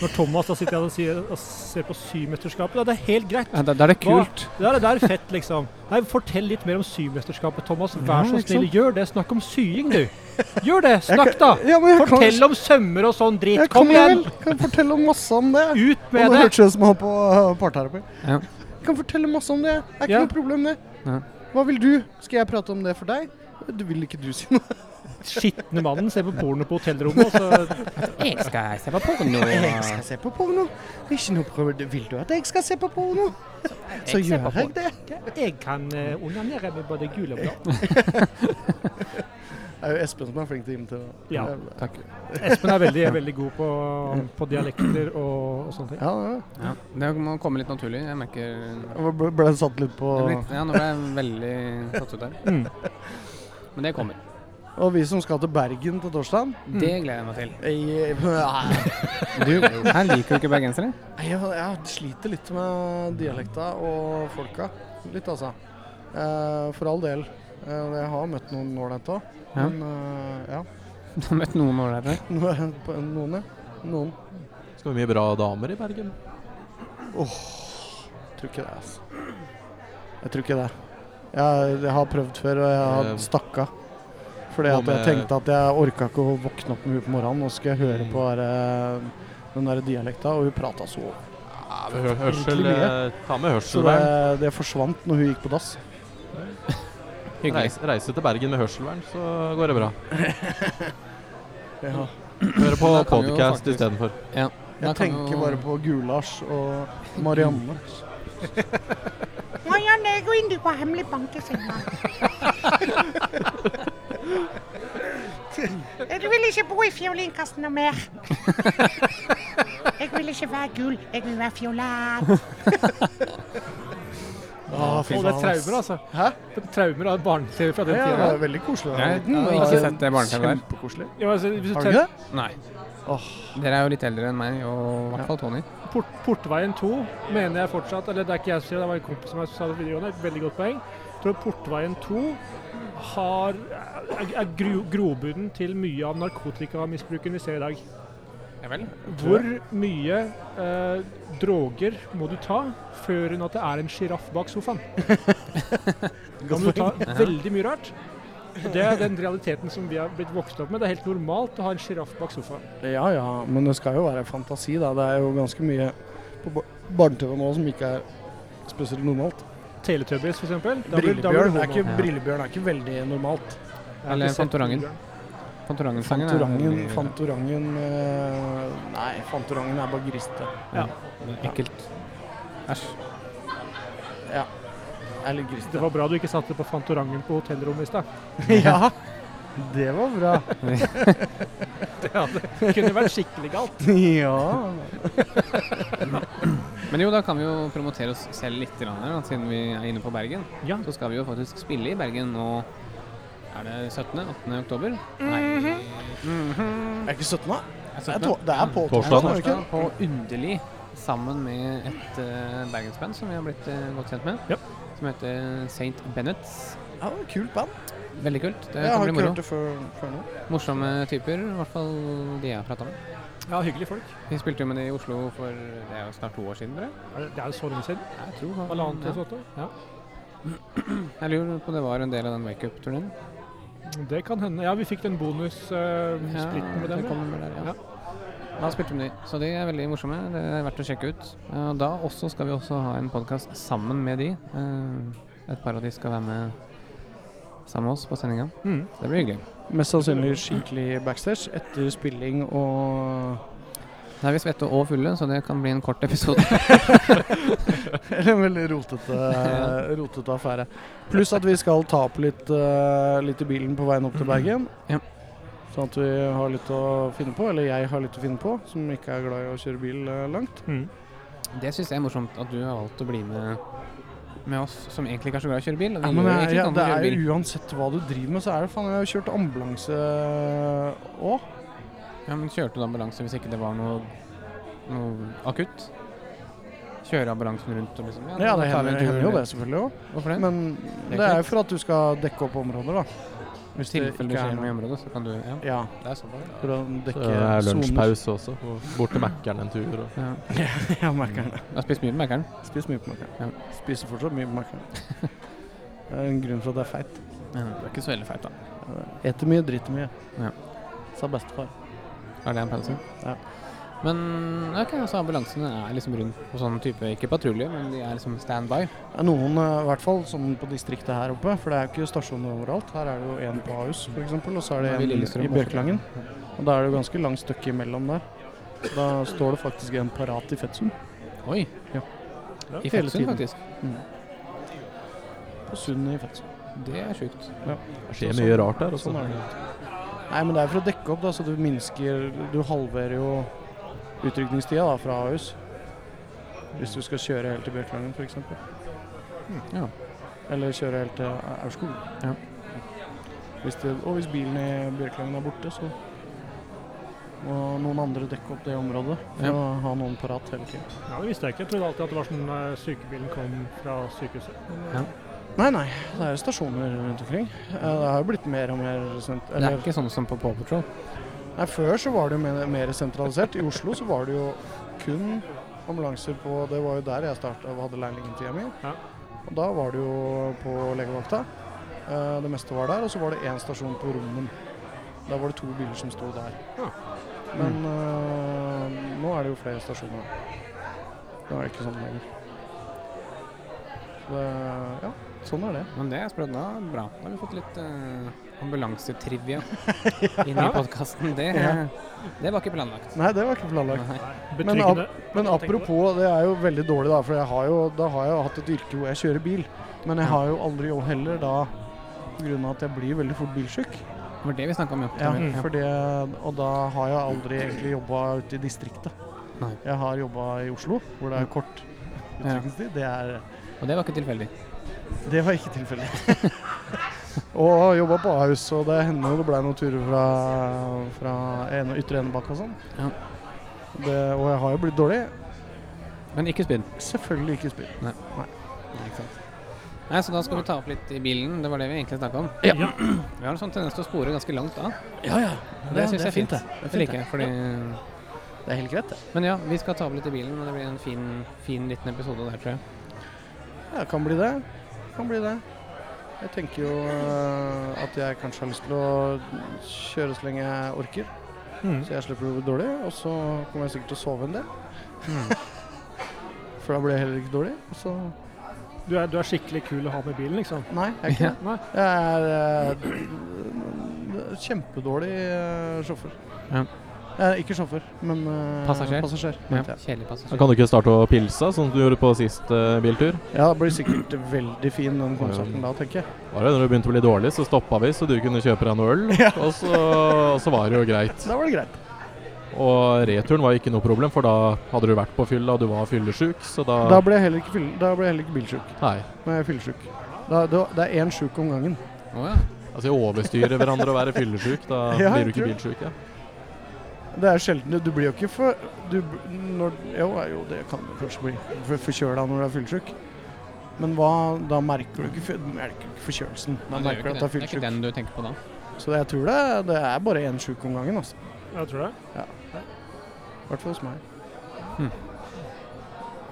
Speaker 4: Når Thomas da sitter igjen og, sier, og ser på syvmesterskapet, da, det er helt greit.
Speaker 2: Ja, da, da er det
Speaker 4: Hva?
Speaker 2: kult.
Speaker 4: Det er, det er fett, liksom. Nei, fortell litt mer om syvmesterskapet, Thomas. Vær
Speaker 3: Ja,
Speaker 4: så
Speaker 3: ikke
Speaker 4: snill,
Speaker 3: sant?
Speaker 4: gjør det. Snakk om sying, du. Gjør det. Snakk, da.
Speaker 3: Ja, men jeg
Speaker 4: Ah.
Speaker 3: kan,
Speaker 4: Fortell om sømmer og sånn drit.
Speaker 3: jeg
Speaker 4: Kom
Speaker 3: kan vel
Speaker 4: igjen.
Speaker 3: kan fortelle om masse om det.
Speaker 4: Ut
Speaker 3: Og
Speaker 4: med
Speaker 3: det
Speaker 4: det.
Speaker 3: hørtes ut som han på uh, parterapi.
Speaker 2: Ja.
Speaker 3: Jeg kan fortelle masse om det. Er ikke
Speaker 4: Ja.
Speaker 3: noe problem, det.
Speaker 2: Ja.
Speaker 3: Hva vil du? Skal jeg prate om det for deg? Du vil ikke du si noe?
Speaker 4: Skitne mannen ser på porno på hotellrommet, og så
Speaker 2: Jeg skal se på porno.
Speaker 3: Jeg skal se på porno. Ikke noe problem. Vil du at jeg skal se på porno? Så
Speaker 2: Jeg ser
Speaker 3: gjør
Speaker 2: på
Speaker 3: jeg det.
Speaker 4: Jeg kan eh, onanere med både gul og blå.
Speaker 3: Det er jo Espen som er flink til å imitere.
Speaker 4: Ja.
Speaker 2: Takk.
Speaker 4: Espen er veldig, veldig god på, på dialekter og, og sånne ting.
Speaker 3: Ja, ja.
Speaker 2: Ja, det må komme litt naturlig. Jeg merker det
Speaker 3: Jeg ble, ble satt litt på
Speaker 2: blir, Ja, nå ble jeg veldig satt ut der.
Speaker 4: Mm.
Speaker 2: Men det kommer.
Speaker 3: Og vi som skal til Bergen på torsdag
Speaker 2: Det gleder jeg meg til.
Speaker 3: jeg,
Speaker 2: Du, her liker du ikke bergensere?
Speaker 3: jeg, jeg sliter litt med dialekta og folka. Litt, altså. Eh, for all del. Eh, jeg har møtt noen ålreite òg.
Speaker 2: Ja.
Speaker 3: Men eh, ja. [laughs]
Speaker 2: Du har møtt noen ålreite?
Speaker 3: Noen, noen, ja. Noen.
Speaker 5: Skal vi mye bra damer i Bergen?
Speaker 3: Tror ikke det, altså. Jeg tror ikke det. Jeg, jeg har prøvd før, og jeg har
Speaker 5: Eh,
Speaker 3: stakk av. Fordi
Speaker 5: hva
Speaker 3: at jeg
Speaker 5: med-
Speaker 3: tenkte at jeg orka ikke å våkne opp med henne på morgenen, og så skal jeg høre
Speaker 5: Mm.
Speaker 3: på der, den der dialekta, og hun prata så
Speaker 5: Hø hørsel,
Speaker 3: Virkelig
Speaker 5: eh, ta med
Speaker 3: Så det,
Speaker 5: hørselvern.
Speaker 3: det forsvant når hun gikk på dass.
Speaker 2: Hyggelig.
Speaker 5: Reise, reise til Bergen med hørselvern, så går det bra.
Speaker 3: Ja.
Speaker 5: Høre på
Speaker 2: Da kan vi jo
Speaker 5: podkast
Speaker 2: faktisk-
Speaker 5: istedenfor.
Speaker 2: Da
Speaker 3: Jeg
Speaker 2: kan
Speaker 3: tenker
Speaker 2: jo-
Speaker 3: bare på Gul-Lars og Marianne.
Speaker 6: Må jeg gå inn på hemmelig bankesenga? Jeg vil ikke bo i fiolinkassen noe mer. Jeg vil ikke være gul, jeg vil være fiolat.
Speaker 3: Ah, fy
Speaker 4: Og det er
Speaker 3: faen, ass.
Speaker 4: traumer, altså.
Speaker 3: Hæ?
Speaker 4: Det er traumer av barne-TV fra den
Speaker 3: Ja, det
Speaker 4: tida.
Speaker 3: er veldig koselig.
Speaker 2: Nei,
Speaker 3: liten.
Speaker 2: jeg har ikke
Speaker 3: var
Speaker 2: sett det barne-tv der.
Speaker 3: Kjempekoselig.
Speaker 4: Ja, altså, hvis du
Speaker 3: Har du
Speaker 4: tenker-
Speaker 3: ikke det?
Speaker 2: Nei.
Speaker 3: Åh.
Speaker 2: Dere er jo litt eldre enn meg, og i hvert fall Tony.
Speaker 4: Port, portveien 2 mener jeg fortsatt, eller det er ikke jeg som sier det, det var en kompis som jeg sa det på videregående, et veldig godt poeng. Jeg tror Portveien 2 har, er, er gro, grobunnen til mye av narkotikamisbruken vi ser i dag.
Speaker 2: Ja vel?
Speaker 4: Hvor mye eh, droger må du ta før hun at det er en sjiraff bak [laughs] sofaen? Da må du ta veldig mye rart. Og Det er den realiteten som vi har blitt vokst opp med. Det er helt normalt å ha en sjiraff bak sofaen.
Speaker 3: Ja ja, men det skal jo være fantasi, da. Det er jo ganske mye på bar- barne-TV nå som ikke er spesielt normalt.
Speaker 4: Teletubbies, for eksempel. Da blir- da blir
Speaker 3: Brillebjørn
Speaker 4: du
Speaker 3: er, ikke,
Speaker 2: homo.
Speaker 3: brillebjørn er ikke veldig normalt.
Speaker 4: Jeg har
Speaker 2: Eller
Speaker 4: ikke sett
Speaker 2: Fantorangen.
Speaker 4: Brillebjørn.
Speaker 2: Fantorangen-sangen er
Speaker 3: Fantorangen,
Speaker 2: veldig-
Speaker 3: Fantorangen eh, Nei, Fantorangen er bare griste.
Speaker 2: Ekkelt. Æsj.
Speaker 3: Er litt
Speaker 4: Det
Speaker 3: griste.
Speaker 4: var bra du ikke satte på Fantorangen på hotellrommet i stad.
Speaker 3: [laughs] ja, det var bra.
Speaker 4: Det kunne vært skikkelig galt.
Speaker 3: [laughs] ja.
Speaker 2: Men jo, da kan vi jo promotere oss selv litt grann her, da, siden vi er inne på Bergen.
Speaker 4: Ja.
Speaker 2: Så skal vi jo faktisk spille i Bergen nå Er det 17. 18. oktober? Nei.
Speaker 3: Er ikke 17, da?
Speaker 2: Er
Speaker 3: Det er,
Speaker 2: 17.?
Speaker 3: to Mm-hmm. det er på Sånn,
Speaker 5: Torsdag,
Speaker 3: er det ikke?
Speaker 2: På Underlig, sammen med et eh, bergensband som vi har blitt eh, godt kjent med,
Speaker 4: Ja.
Speaker 2: som heter St. Bennets.
Speaker 3: Ja, det var kult band.
Speaker 2: Veldig kult. Det
Speaker 3: Jeg
Speaker 2: kan
Speaker 3: har
Speaker 2: bli
Speaker 3: ikke
Speaker 2: moro.
Speaker 3: hørt det før, før nå.
Speaker 2: Morsomme typer, i hvert fall de jeg har prata med.
Speaker 4: [laughs] Ja, hyggelige folk.
Speaker 2: Vi spilte jo med de i Oslo for det er jo snart to år siden, tror jeg.
Speaker 4: Er Det det er jo så lenge siden.
Speaker 2: jeg tror, det var-
Speaker 4: Halvannet
Speaker 2: ja.
Speaker 4: eller sånt. da.
Speaker 2: Jeg lurer på om det var en del av den wake-up-turneen.
Speaker 4: Det kan hende. Ja, vi fikk den bonussplitten
Speaker 2: Ja,
Speaker 4: splitten med dem.
Speaker 2: det
Speaker 4: ja.
Speaker 2: kommer vel der, ja. Da spilte vi de, så de er veldig morsomme. Det er verdt å sjekke ut. Eh, Og da også skal vi også ha en podkast sammen med de. Eh, Et par av de skal være med sammen med oss på sendinga.
Speaker 4: Mm.
Speaker 2: Det blir hyggelig.
Speaker 3: Mest sannsynlig skikkelig backstage etter spilling og
Speaker 2: Da er vi svette og fulle, så det kan bli en kort episode.
Speaker 3: Eller en veldig rotete, rotete affære. Pluss at vi skal ta opp litt, eh, litt i bilen på veien opp til Bergen.
Speaker 2: Ja.
Speaker 3: Sånn at vi har litt å finne på, eller jeg har litt å finne på, som ikke er glad i å kjøre bil eh, langt.
Speaker 4: Mm.
Speaker 2: [laughs] Det syns jeg er morsomt at du har valgt å bli med med oss som egentlig ikke er så glad i å kjøre bil. og Vi
Speaker 3: Ja,
Speaker 2: gjør
Speaker 3: men
Speaker 2: jo
Speaker 3: jeg,
Speaker 2: egentlig
Speaker 3: Eh,
Speaker 2: ikke
Speaker 3: ja,
Speaker 2: annet enn å
Speaker 3: det er
Speaker 2: kjøre bil.
Speaker 3: jo Uansett hva du driver med, så er det faen Jeg har jo kjørt ambulanse eh, òg.
Speaker 2: Ja, men kjørte du ambulanse hvis ikke det var noe, noe akutt? Kjøre ambulansen rundt og liksom
Speaker 3: Ja,
Speaker 2: da
Speaker 3: det
Speaker 2: tar vi en
Speaker 3: hender,
Speaker 2: tur
Speaker 3: hender jo
Speaker 2: rundt.
Speaker 3: det selvfølgelig òg.
Speaker 2: Hvorfor det?
Speaker 3: Men
Speaker 2: er
Speaker 3: det er
Speaker 2: greit.
Speaker 3: jo for at du skal dekke opp områder, da. Hvis
Speaker 2: I
Speaker 3: det
Speaker 2: tilfelle det
Speaker 3: ikke er
Speaker 2: skjer noe i
Speaker 3: noe
Speaker 2: området, så kan du Ja,
Speaker 3: Ja, sånn
Speaker 2: det er såpass. ja.
Speaker 3: for å
Speaker 5: Så
Speaker 3: dekke
Speaker 5: det er
Speaker 3: soner.
Speaker 5: lunsjpause også. og Bort til Mækkern en tur. Og.
Speaker 2: Ja.
Speaker 3: [laughs] ja, Mækkern.
Speaker 2: Jeg har spist mye med Mækkern.
Speaker 3: Spis mye på
Speaker 2: Ja.
Speaker 3: Mækkern. Spiser fortsatt mye på Mækkern. Det er en grunn for at det er feit.
Speaker 2: Ja, det er ikke så veldig feit, da.
Speaker 3: Eter mye, driter mye.
Speaker 2: Ja.
Speaker 3: Sa bestefar.
Speaker 2: Er det en pause?
Speaker 3: Ja.
Speaker 2: Men ok, altså ambulansene er liksom rundt på sånn type Ikke patrulje, men de er liksom standby.
Speaker 3: Det er noen, eh, i hvert fall som på distriktet her oppe, for det er jo ikke stasjoner overalt. Her er det jo en på Ahus f.eks., og så er det
Speaker 2: Ja, i
Speaker 3: en
Speaker 2: Lillestrøm
Speaker 3: i
Speaker 2: også.
Speaker 3: Bjørklangen. Og da er det jo ganske langt stykke imellom der. Da står det faktisk en parat i Fetsund.
Speaker 2: Oi.
Speaker 3: Ja.
Speaker 2: I
Speaker 3: Hele
Speaker 2: Fetsund,
Speaker 3: tiden.
Speaker 2: faktisk.
Speaker 3: På Sundet i Fetsund.
Speaker 2: Det er sjukt.
Speaker 5: Det skjer mye rart altså. der også.
Speaker 3: Sånn er det. Nei, men det er for å dekke opp, da, så du minsker Du halverer jo utrykningstida da, fra Ahus. Hvis du skal kjøre helt til Bjørklangen f.eks.
Speaker 2: ja.
Speaker 3: Eller kjøre helt til Aurskog.
Speaker 2: Ja.
Speaker 3: Hvis det, og hvis bilen i Bjørklangen er borte, så må noen andre dekke opp det området. For
Speaker 2: Ja.
Speaker 3: å ha noen parat hele tiden.
Speaker 4: Ja, det visste jeg ikke. Jeg trodde alltid at det var sånn eh, sykebilen kom fra sykehuset.
Speaker 3: Nei, nei. Det er jo stasjoner rundt omkring. Eh, Det har jo blitt mer og mer sent...
Speaker 2: Det er ikke sånn som på Paw Patrol.
Speaker 3: Nei, Før så var det jo mer- mer sentralisert. I Oslo så var det jo kun ambulanser på Det var jo der jeg starta og hadde lærlingtida mi.
Speaker 4: Ja.
Speaker 3: Og da var det jo på legevakta. Eh, Det meste var der. Og så var det én stasjon på Rommen. Der var det to biler som sto der.
Speaker 4: Ja.
Speaker 3: Men eh, nå er det jo flere stasjoner. Nå er det ikke sånn lenger. Så det, ja, sånn er det.
Speaker 2: Men det er sprøtt. Da er det bra. Da har vi fått litt eh,
Speaker 3: [laughs]
Speaker 2: ambulansetrivia inn i podkasten. Det,
Speaker 3: Ja.
Speaker 2: det var ikke planlagt.
Speaker 3: Nei, det var ikke planlagt. Men
Speaker 4: Betryggende.
Speaker 3: Men apropos, det er jo veldig dårlig da, for jeg har jo, da har jeg jo hatt et yrke hvor jeg kjører bil. Men jeg har jo aldri jo heller da pga. at jeg blir veldig fort bilsjuk.
Speaker 2: Det var det vi snakka om.
Speaker 3: Ja,
Speaker 2: Ja. Ja.
Speaker 3: for det, og da har jeg aldri egentlig jobba ute i distriktet.
Speaker 2: Nei.
Speaker 3: Jeg har jobba i Oslo, hvor det er kort utrykningstid. Det, er-
Speaker 2: Og det var ikke tilfeldig.
Speaker 3: det var ikke tilfellet. [laughs] og jobba på Ahus, og det hender jo det blei noen turer fra, fra ene, ytre enebakk og sånn.
Speaker 2: Ja.
Speaker 3: Det, og jeg har jo blitt dårlig.
Speaker 2: Men ikke spydd.
Speaker 3: Selvfølgelig ikke spyr.
Speaker 2: Nei, ikke sant. Nei, Så da skal vi ta opp litt i bilen. Det var det vi egentlig snakka om.
Speaker 3: Ja.
Speaker 2: Vi har en sånn tendens til å spore ganske langt av.
Speaker 3: Ja, ja.
Speaker 2: Det, syns jeg er fint. Det,
Speaker 3: fint,
Speaker 2: liker jeg. Fordi...
Speaker 3: Det er helt greit, det.
Speaker 2: Men ja, vi skal ta opp litt i bilen. Men det blir en fin, fin liten episode der, tror jeg.
Speaker 3: Ja, kan bli det. Kan bli det. Jeg tenker jo eh, at jeg kanskje har lyst til å kjøre så lenge jeg orker.
Speaker 4: Mm.
Speaker 3: Så jeg slipper å bli dårlig, og så kommer jeg sikkert til å sove en del.
Speaker 2: Mm.
Speaker 3: [laughs] For da blir jeg heller ikke dårlig. og Så
Speaker 4: Du er, du er skikkelig kul å ha med i bilen, liksom.
Speaker 3: Nei, jeg er ikke det.
Speaker 4: Nei.
Speaker 3: Jeg er eh, kjempedårlig eh, sjåfør.
Speaker 2: Ja.
Speaker 3: Eh, ikke sjåfør, men eh,
Speaker 2: Passasjer?
Speaker 3: passasjer
Speaker 2: Ja.
Speaker 3: mente jeg.
Speaker 2: Kjedelig altså.
Speaker 5: Da
Speaker 2: passasjer.
Speaker 5: kan du ikke starte å pilse, sånn som du gjorde på sist eh, biltur.
Speaker 3: Ja, det blir sikkert veldig fin den konserten da, tenker jeg.
Speaker 5: Var det Når du begynte å bli dårlig, så stoppa vi, så du kunne kjøpe deg noe øl. Og så, og så var det jo greit.
Speaker 3: Da var det greit.
Speaker 5: Og returen var ikke noe problem, for da hadde du vært på fylla, og du var fyllesjuk, så da,
Speaker 3: Da ble jeg heller ikke, fyll- da ble jeg heller ikke bilsjuk.
Speaker 5: Nei.
Speaker 3: Når jeg er fyllesyk. Da, da, det er én sjuk om gangen.
Speaker 2: Å ja.
Speaker 5: Altså, jeg overstyrer hverandre å være fyllesyk. Da
Speaker 3: [laughs] Ja,
Speaker 5: blir du
Speaker 3: jeg
Speaker 5: ikke
Speaker 3: tror-
Speaker 5: bilsjuk. Ja.
Speaker 3: Det er sjelden. Du blir jo ikke for du, b- når, jo, ja, jo, det kan du kanskje bli. For- Forkjøla når du er fyllesyk. Men hva, da merker du ikke, fø- du merker ikke forkjølelsen. Da
Speaker 2: Men det, er jo ikke
Speaker 3: merker du at
Speaker 2: det. det er ikke
Speaker 3: du er fyllesyk.
Speaker 2: den du tenker på da.
Speaker 3: Så jeg tror det, det er bare én sjuk om gangen. Altså.
Speaker 4: Jeg tror det.
Speaker 3: I hvert fall hos meg.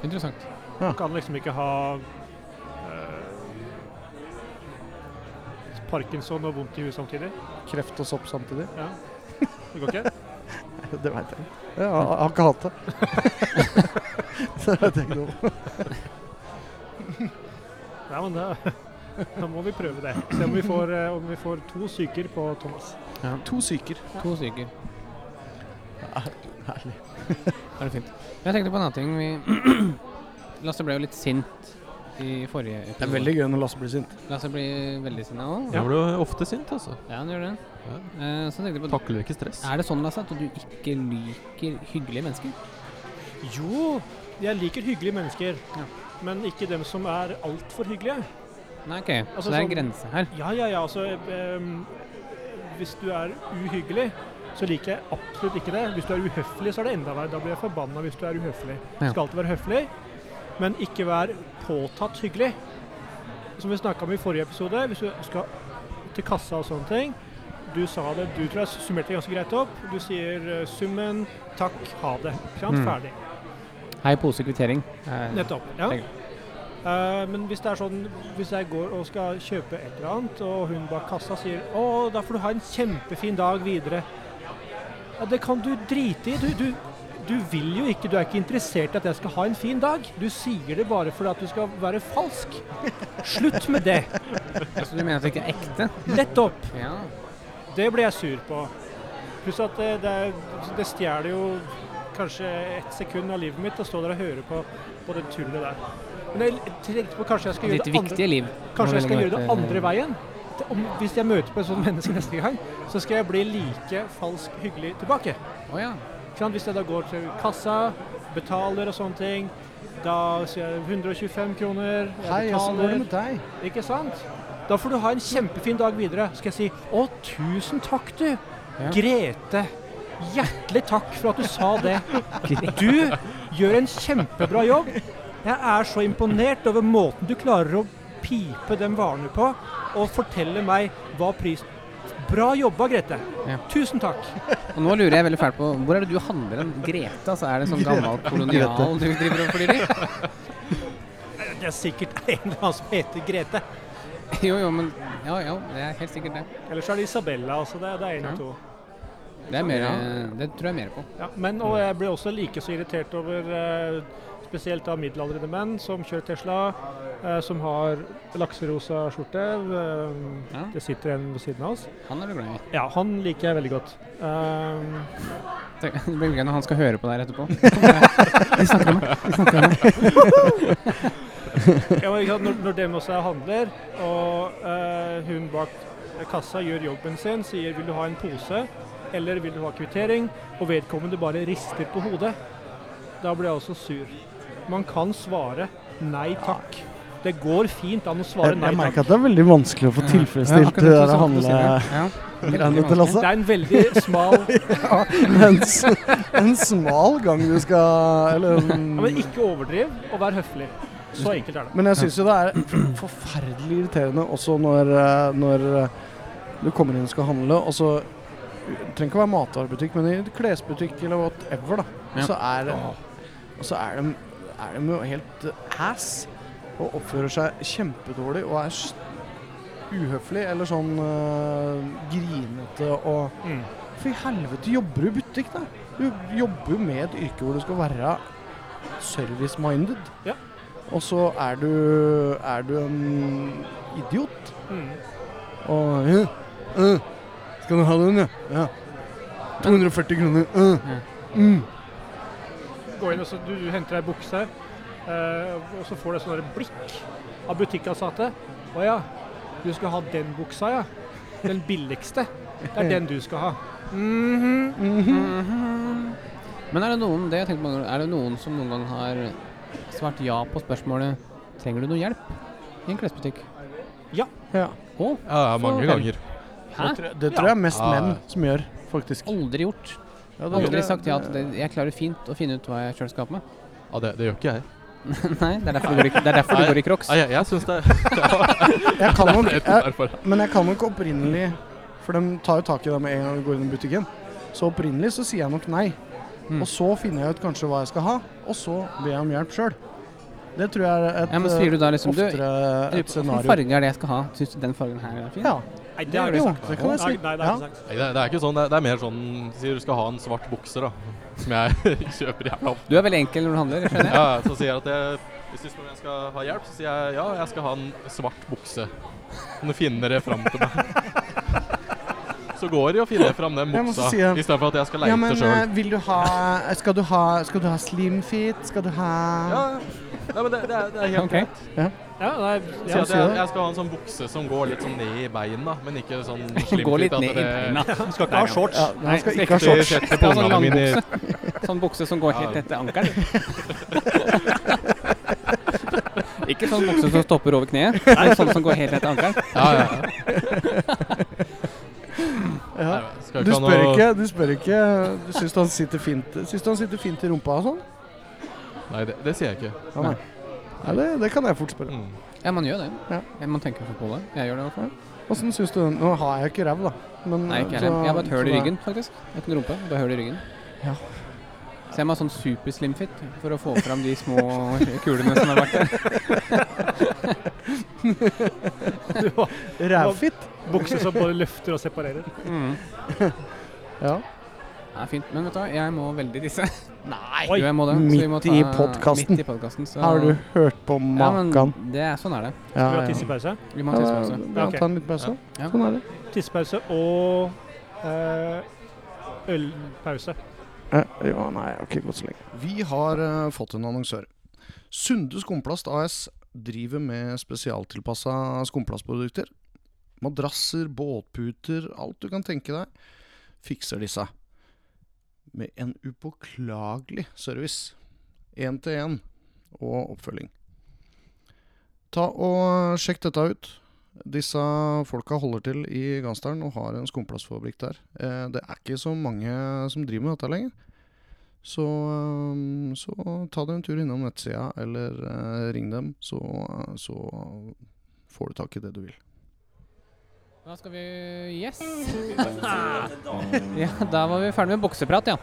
Speaker 2: Interessant.
Speaker 4: Du kan liksom ikke ha eh, Parkinson og vondt i huet samtidig.
Speaker 3: Kreft og sopp samtidig. [laughs]
Speaker 4: Ja. Det går ikke?
Speaker 3: Det veit jeg. ikke. Ja, Jeg har ikke hatt det. [laughs] Så jeg tenker noe.
Speaker 4: Nei, men da, [laughs] da må vi prøve det. Se om vi får, eh, om vi får to psyker på Thomas.
Speaker 3: To syker.
Speaker 2: To stykker.
Speaker 3: Herlig.
Speaker 2: Da er det fint. Men jeg tenkte på en annen ting. Vi [clears throat] Lasse ble jo litt sint i forrige episode.
Speaker 3: Det er veldig gøy når Lasse blir sint.
Speaker 2: Lasse blir veldig sinna òg.
Speaker 5: Jeg blir jo ofte sint, altså.
Speaker 2: Ja, han gjør det.
Speaker 5: Ja.
Speaker 2: Eh, så tenkte jeg på
Speaker 5: Takler ikke stress.
Speaker 2: Er det sånn, Lasse, at du ikke liker hyggelige mennesker?
Speaker 4: Jo, jeg liker hyggelige mennesker. Men ikke dem som er altfor hyggelige.
Speaker 2: Nei, OK.
Speaker 4: Altså,
Speaker 2: så det er en
Speaker 4: sånn-
Speaker 2: grense her.
Speaker 4: Ja, ja, ja. Altså, ehm, hvis du er uhyggelig, så liker jeg absolutt ikke det. Hvis du er uhøflig, så er det enda verre. Da blir jeg forbanna hvis du er uhøflig.
Speaker 2: Ja.
Speaker 4: Skal alltid være høflig, men ikke vær påtatt hyggelig. Som vi snakka om i forrige episode, hvis du skal til kassa og sånne ting. Du sa det, du tror jeg summerte det ganske greit opp. Du sier eh, summen, takk, ha det. Ikke sant?
Speaker 2: Mm.
Speaker 4: Ferdig.
Speaker 2: Hei, pose kvittering. Eh,
Speaker 4: Nettopp. Ja.
Speaker 2: Tenker.
Speaker 4: Eh, men hvis det er sånn, hvis jeg går og skal kjøpe et eller annet, og hun bak kassa sier å, da får du ha en kjempefin dag videre. Ja, det kan du drite i. Du, du, du vil jo ikke, du er ikke interessert i at jeg skal ha en fin dag. Du sier det bare fordi at du skal være falsk. Slutt med det.
Speaker 2: Så altså, du mener at det ikke er ekte?
Speaker 4: Nettopp.
Speaker 2: Ja.
Speaker 4: Det ble jeg sur på. Pluss at det, det, er- det stjeler jo kanskje ett sekund av livet mitt å stå der og høre på, på det tullet der. Men jeg tenkte på kanskje jeg skal gjøre
Speaker 2: Ditt
Speaker 4: det andre,
Speaker 2: viktige liv.
Speaker 4: kanskje jeg
Speaker 2: Nå vil
Speaker 4: skal gjøre
Speaker 2: møte-
Speaker 4: det andre veien. At Om, hvis jeg møter på et sånt [laughs] menneske neste gang, så skal jeg bli like falsk hyggelig tilbake.
Speaker 2: Å ja.
Speaker 4: Ikke sant? Hvis jeg da går til kassa, betaler og sånne ting, da sier jeg 125 kroner, jeg
Speaker 3: Hei, altså, åssen går det med deg?
Speaker 4: ikke sant? Da får du ha en kjempefin dag videre. Skal jeg si å, tusen takk, du.
Speaker 2: Ja.
Speaker 4: Grete. Hjertelig takk for at du sa det. Du gjør en kjempebra jobb. Jeg er så imponert over måten du klarer å pipe den varen på og fortelle meg hva pris Bra jobba, Grete.
Speaker 2: Ja.
Speaker 4: Tusen takk.
Speaker 2: Og nå lurer jeg veldig fælt på hvor er det du handler hen? Grete? Altså, er det en sånn gammel kolonial du driver og flyr i?
Speaker 4: Det er sikkert en eller annen som heter Grete.
Speaker 2: [laughs] Jo, jo, men Ja, ja, det er helt sikkert det.
Speaker 4: Eller så er det Isabella. altså det, det er en av to.
Speaker 2: Det, er mer, det tror jeg mer på.
Speaker 4: Ja, men og jeg ble også like så irritert over eh, spesielt av middelaldrende menn som kjører Tesla, eh, som har lakserosa skjorte. eh,
Speaker 2: Ja.
Speaker 4: Det sitter en ved siden av oss.
Speaker 2: Han er du glad i.
Speaker 4: Ja, han liker jeg veldig godt. Um,
Speaker 2: Tenk- Det [laughs] blir gøy når han skal høre på det her etterpå. De snakker om meg. De snakker om meg.
Speaker 4: ja, men ikke sant, når, når dem også er handler, og eh, hun bak kassa gjør jobben sin, sier 'vil du ha en pose', eller 'vil du ha kvittering', og vedkommende bare rister på hodet, da blir jeg også sur. Man kan svare 'nei takk'. Det går fint an å svare
Speaker 3: Jeg,
Speaker 4: nei
Speaker 3: jeg
Speaker 4: takk.
Speaker 3: merker at det er veldig vanskelig å få
Speaker 2: Ja,
Speaker 3: tilfredsstilt
Speaker 2: akkurat
Speaker 3: det
Speaker 2: sånn
Speaker 3: der
Speaker 2: som du sier
Speaker 3: handlegreiene
Speaker 2: det. Ja. Veldig
Speaker 3: til
Speaker 2: vanskelig.
Speaker 4: Det
Speaker 3: Lasse.
Speaker 4: er en veldig smal ja,
Speaker 3: [laughs] En, s- en smal gang du skal Eller
Speaker 4: Men ikke overdriv, og vær høflig. Så enkelt er det.
Speaker 3: Men jeg syns jo det er [clears throat] forferdelig irriterende også når, eh, når eh, du kommer inn og skal handle, og så det trenger ikke å være matvarebutikk, men i en klesbutikk eller whatever, da.
Speaker 2: Ja.
Speaker 3: Så er det Og så er de, er de jo helt eh, ass og oppfører seg kjempedårlig og er s- uhøflig eller sånn eh, grinete og
Speaker 4: Mm.
Speaker 3: For i helvete, jobber du i butikk, da? Du jobber jo med et yrke hvor du skal være service-minded.
Speaker 4: Ja.
Speaker 3: Og så er du, er du en idiot.
Speaker 4: Mm.
Speaker 3: Og ja, ja, Skal du ha den, ja? Ja. 240 kroner. ja. Mm.
Speaker 4: Gå inn og så du, du henter ei bukse, eh, og så får du et sånt der blikk av butikkansatte. Å ja, du skal ha den buksa, ja. Den billigste. Det er den du skal ha. Mhm.
Speaker 2: Men er det noen det jeg tenkte på, er det noen som noen gang har svart ja på spørsmålet 'Trenger du noe hjelp?' i en klesbutikk?
Speaker 3: ja.
Speaker 2: Å,
Speaker 5: Ja, ja, mange
Speaker 2: Så vel.
Speaker 5: ganger.
Speaker 2: hæ?
Speaker 3: Det tror jeg- Det tror jeg er mest
Speaker 5: Ja.
Speaker 3: menn som gjør, faktisk.
Speaker 2: Aldri gjort.
Speaker 3: Ja, det tror
Speaker 2: Aldri
Speaker 3: jeg-
Speaker 2: sagt ja til det. Jeg klarer fint å finne ut hva jeg sjøl skal ha på meg.
Speaker 5: Ja, det, det gjør ikke jeg.
Speaker 2: [laughs] Nei, det er derfor du går i, det er derfor du går i crocs.
Speaker 5: Nei, jeg, jeg syns det ja,
Speaker 3: Jeg
Speaker 2: [laughs]
Speaker 3: kan nok,
Speaker 5: det er
Speaker 3: jeg,
Speaker 5: [laughs] derfor.
Speaker 3: men jeg kan nok opprinnelig For de tar jo tak i deg med en gang du går inn i butikken. Så opprinnelig så sier jeg nok nei.
Speaker 2: Mm.
Speaker 3: Og så finner jeg ut kanskje hva jeg skal ha, og så ber jeg om hjelp sjøl. Det tror jeg er et eh,
Speaker 2: Ja, men sier du da liksom du,
Speaker 3: oftere et
Speaker 2: Hvilken
Speaker 3: scenario.
Speaker 2: farge er det jeg skal ha? Syns du den fargen her er fin?
Speaker 3: Ja,
Speaker 4: Nei, det
Speaker 3: det,
Speaker 4: har
Speaker 3: jo,
Speaker 4: du sagt.
Speaker 3: det kan jeg si.
Speaker 4: Nei, nei, det
Speaker 3: Ja.
Speaker 4: har du sagt.
Speaker 5: Nei, det, det er ikke sånn. Det, det er mer sånn Sier du skal ha en svart bukse, da. Som jeg [laughs] kjøper jævla
Speaker 2: Du er veldig enkel når du handler, jeg skjønner jeg.
Speaker 5: Ja, så sier jeg at jeg, hvis du spør om jeg skal ha hjelp, så sier jeg ja, jeg skal ha en svart bukse. Kan du finne det fram til meg? [laughs] Så går de og finner fram den
Speaker 3: Jeg må
Speaker 5: buksa,
Speaker 3: si, ja.
Speaker 5: i stedet for at jeg skal leite
Speaker 3: Ja, men
Speaker 5: selv.
Speaker 3: eh, vil du ha Skal du ha, skal du ha slim fit? Skal du ha
Speaker 5: Ja, Nei, men det, det, er, det er helt
Speaker 2: Ok.
Speaker 5: greit.
Speaker 4: Ja, nei,
Speaker 5: Si
Speaker 4: ja.
Speaker 5: at jeg, jeg skal ha en sånn bukse som går litt sånn ned i beina, men ikke
Speaker 2: [laughs]
Speaker 5: sånn slimfit.
Speaker 2: Gå litt
Speaker 5: at
Speaker 2: ned i
Speaker 5: det-
Speaker 2: beina.
Speaker 4: Du skal ikke ha shorts.
Speaker 3: ja nei, skal ikke ha
Speaker 5: Det
Speaker 3: shorts.
Speaker 5: setter
Speaker 2: Ta sånn
Speaker 5: pungene mine i-
Speaker 2: langbukse. Sånn bukse som går helt
Speaker 5: Ja.
Speaker 2: etter ankelen. Ikke sånn bukse som stopper over kneet, men sånn som går helt etter ankelen.
Speaker 5: Ja, ja. ja.
Speaker 3: Ja.
Speaker 5: Nei, skal
Speaker 3: Du
Speaker 5: ha
Speaker 3: spør
Speaker 5: noe-
Speaker 3: ikke. Du spør ikke Du syns du han sitter fint Syns du han sitter fint i rumpa og sånn?
Speaker 5: Nei, det, det sier jeg ikke.
Speaker 3: Ja, nei. Nei, det, det kan jeg fort spørre.
Speaker 5: Mm.
Speaker 2: Ja, man gjør det.
Speaker 3: Ja.
Speaker 2: Ja, Man tenker på det. Jeg gjør det i hvert fall.
Speaker 3: Åssen syns du den Nå har jeg ikke ræv, da. Men,
Speaker 2: Nei, ikke jeg
Speaker 3: så-
Speaker 2: heller. Jeg har bare et
Speaker 3: så
Speaker 2: høl i
Speaker 3: det-
Speaker 2: ryggen, faktisk. Jeg har Ikke noe rumpe, bare høl i ryggen.
Speaker 3: Ja.
Speaker 2: Så jeg må ha sånn super slim fit for å få fram de små kulene som har vært der.
Speaker 3: Rævfitt.
Speaker 4: Bukse som både løfter og separerer.
Speaker 2: Mm.
Speaker 3: Ja.
Speaker 2: Det er fint. Men vet du hva, jeg må veldig tisse.
Speaker 3: Nei.
Speaker 2: Jo, jeg må det. Så vi må
Speaker 3: Midt i podcasten.
Speaker 2: Midt i podkasten. så-
Speaker 3: Har du hørt på makan?
Speaker 2: Ja, men det er, sånn er det.
Speaker 3: ja,
Speaker 4: Skal vi ha
Speaker 3: ja.
Speaker 4: tissepause?
Speaker 2: Vi må
Speaker 3: Ja,
Speaker 2: ha tissepause.
Speaker 3: ja,
Speaker 4: Ok.
Speaker 3: ta en liten pause.
Speaker 2: Ja.
Speaker 3: Sånn er det.
Speaker 4: Tissepause og eh, ølpause.
Speaker 3: Ja, Eh, ja, nei, jeg har ikke gått så lenge.
Speaker 7: Vi har eh, fått en annonsør. Sunde Skumplast AS driver med spesialtilpassa skumplastprodukter. Madrasser, båtputer, alt du kan tenke deg, fikser disse. Med en upåklagelig service. Én til én og oppfølging. Ta og eh, Sjekk dette ut. Disse folka holder til i Gansdalen og har en skumplastfabrikk der. Eh, Det er ikke så mange som driver med dette lenger. Så, øhm, så ta deg en tur innom nettsida, eller eh, ring dem, så, så får du tak i det du vil.
Speaker 2: Da skal vi Yes!
Speaker 1: Vi kan si at det er damer.
Speaker 2: Ja, da var vi ferdig med bukseprat, ja.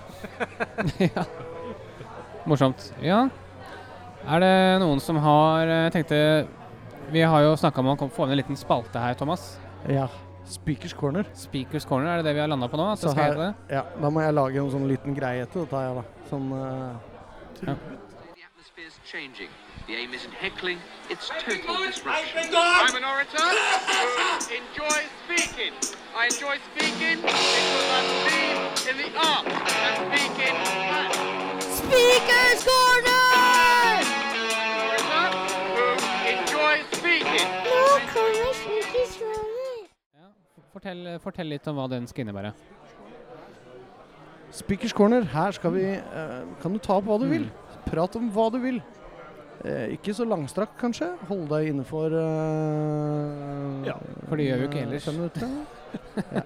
Speaker 2: [laughs] ja. Morsomt. Ja. Er det noen som har eh, tenkte Vi har jo snakka om å kom- få inn en liten spalte her, Thomas.
Speaker 3: Ja. Speakers corner.
Speaker 2: Speakers corner, er det det vi har landa på nå? At
Speaker 3: Så
Speaker 2: det skal
Speaker 3: her-
Speaker 2: hete?
Speaker 3: Ja, da må jeg lage en sånn liten greie til dette her, da. Sånn eh,
Speaker 8: The atmosphere's changing. The aim isn't heckling, it's total disruption.
Speaker 9: I'm an orator who enjoys speaking. I enjoy speaking because I believe in the art of speaking. Speaker's Corner! I'm an orator who enjoys speaking.
Speaker 2: Ja. Fortell, fortell litt om hva den skal innebære.
Speaker 3: Speakers corner. Her skal vi eh, Kan du ta opp hva du vil?
Speaker 2: Mm.
Speaker 3: Prat om hva du vil. Eh, ikke så langstrakk, kanskje. Hold deg innenfor eh,
Speaker 4: Ja,
Speaker 2: for det gjør vi jo ikke
Speaker 3: eh,
Speaker 2: ellers.
Speaker 3: Fem minutter.
Speaker 2: [laughs]
Speaker 3: ja.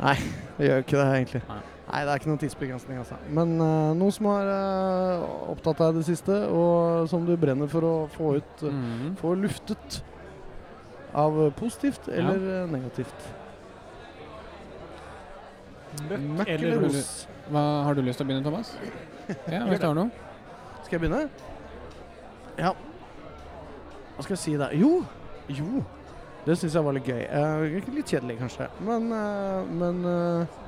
Speaker 3: Nei, det gjør ikke det, egentlig.
Speaker 2: Nei.
Speaker 3: Nei, det er ikke noen tidsbegrensning, altså. Men eh, noe som har eh, opptatt deg i det siste, og som du brenner for å få ut eh,
Speaker 2: Mhm.
Speaker 3: få luftet av eh, positivt eller eh, negativt. Møkk
Speaker 4: eller
Speaker 3: eller
Speaker 4: ros?
Speaker 3: ros?
Speaker 2: Hva, har du lyst til å begynne,
Speaker 3: [laughs]
Speaker 2: Thomas? Ja, hvis du har noe?
Speaker 3: Skal jeg begynne? Ja. Hva skal jeg si da? Jo! Jo! Det syns jeg var litt gøy. Eh, ikke litt kjedelig, kanskje, men eh, Men eh,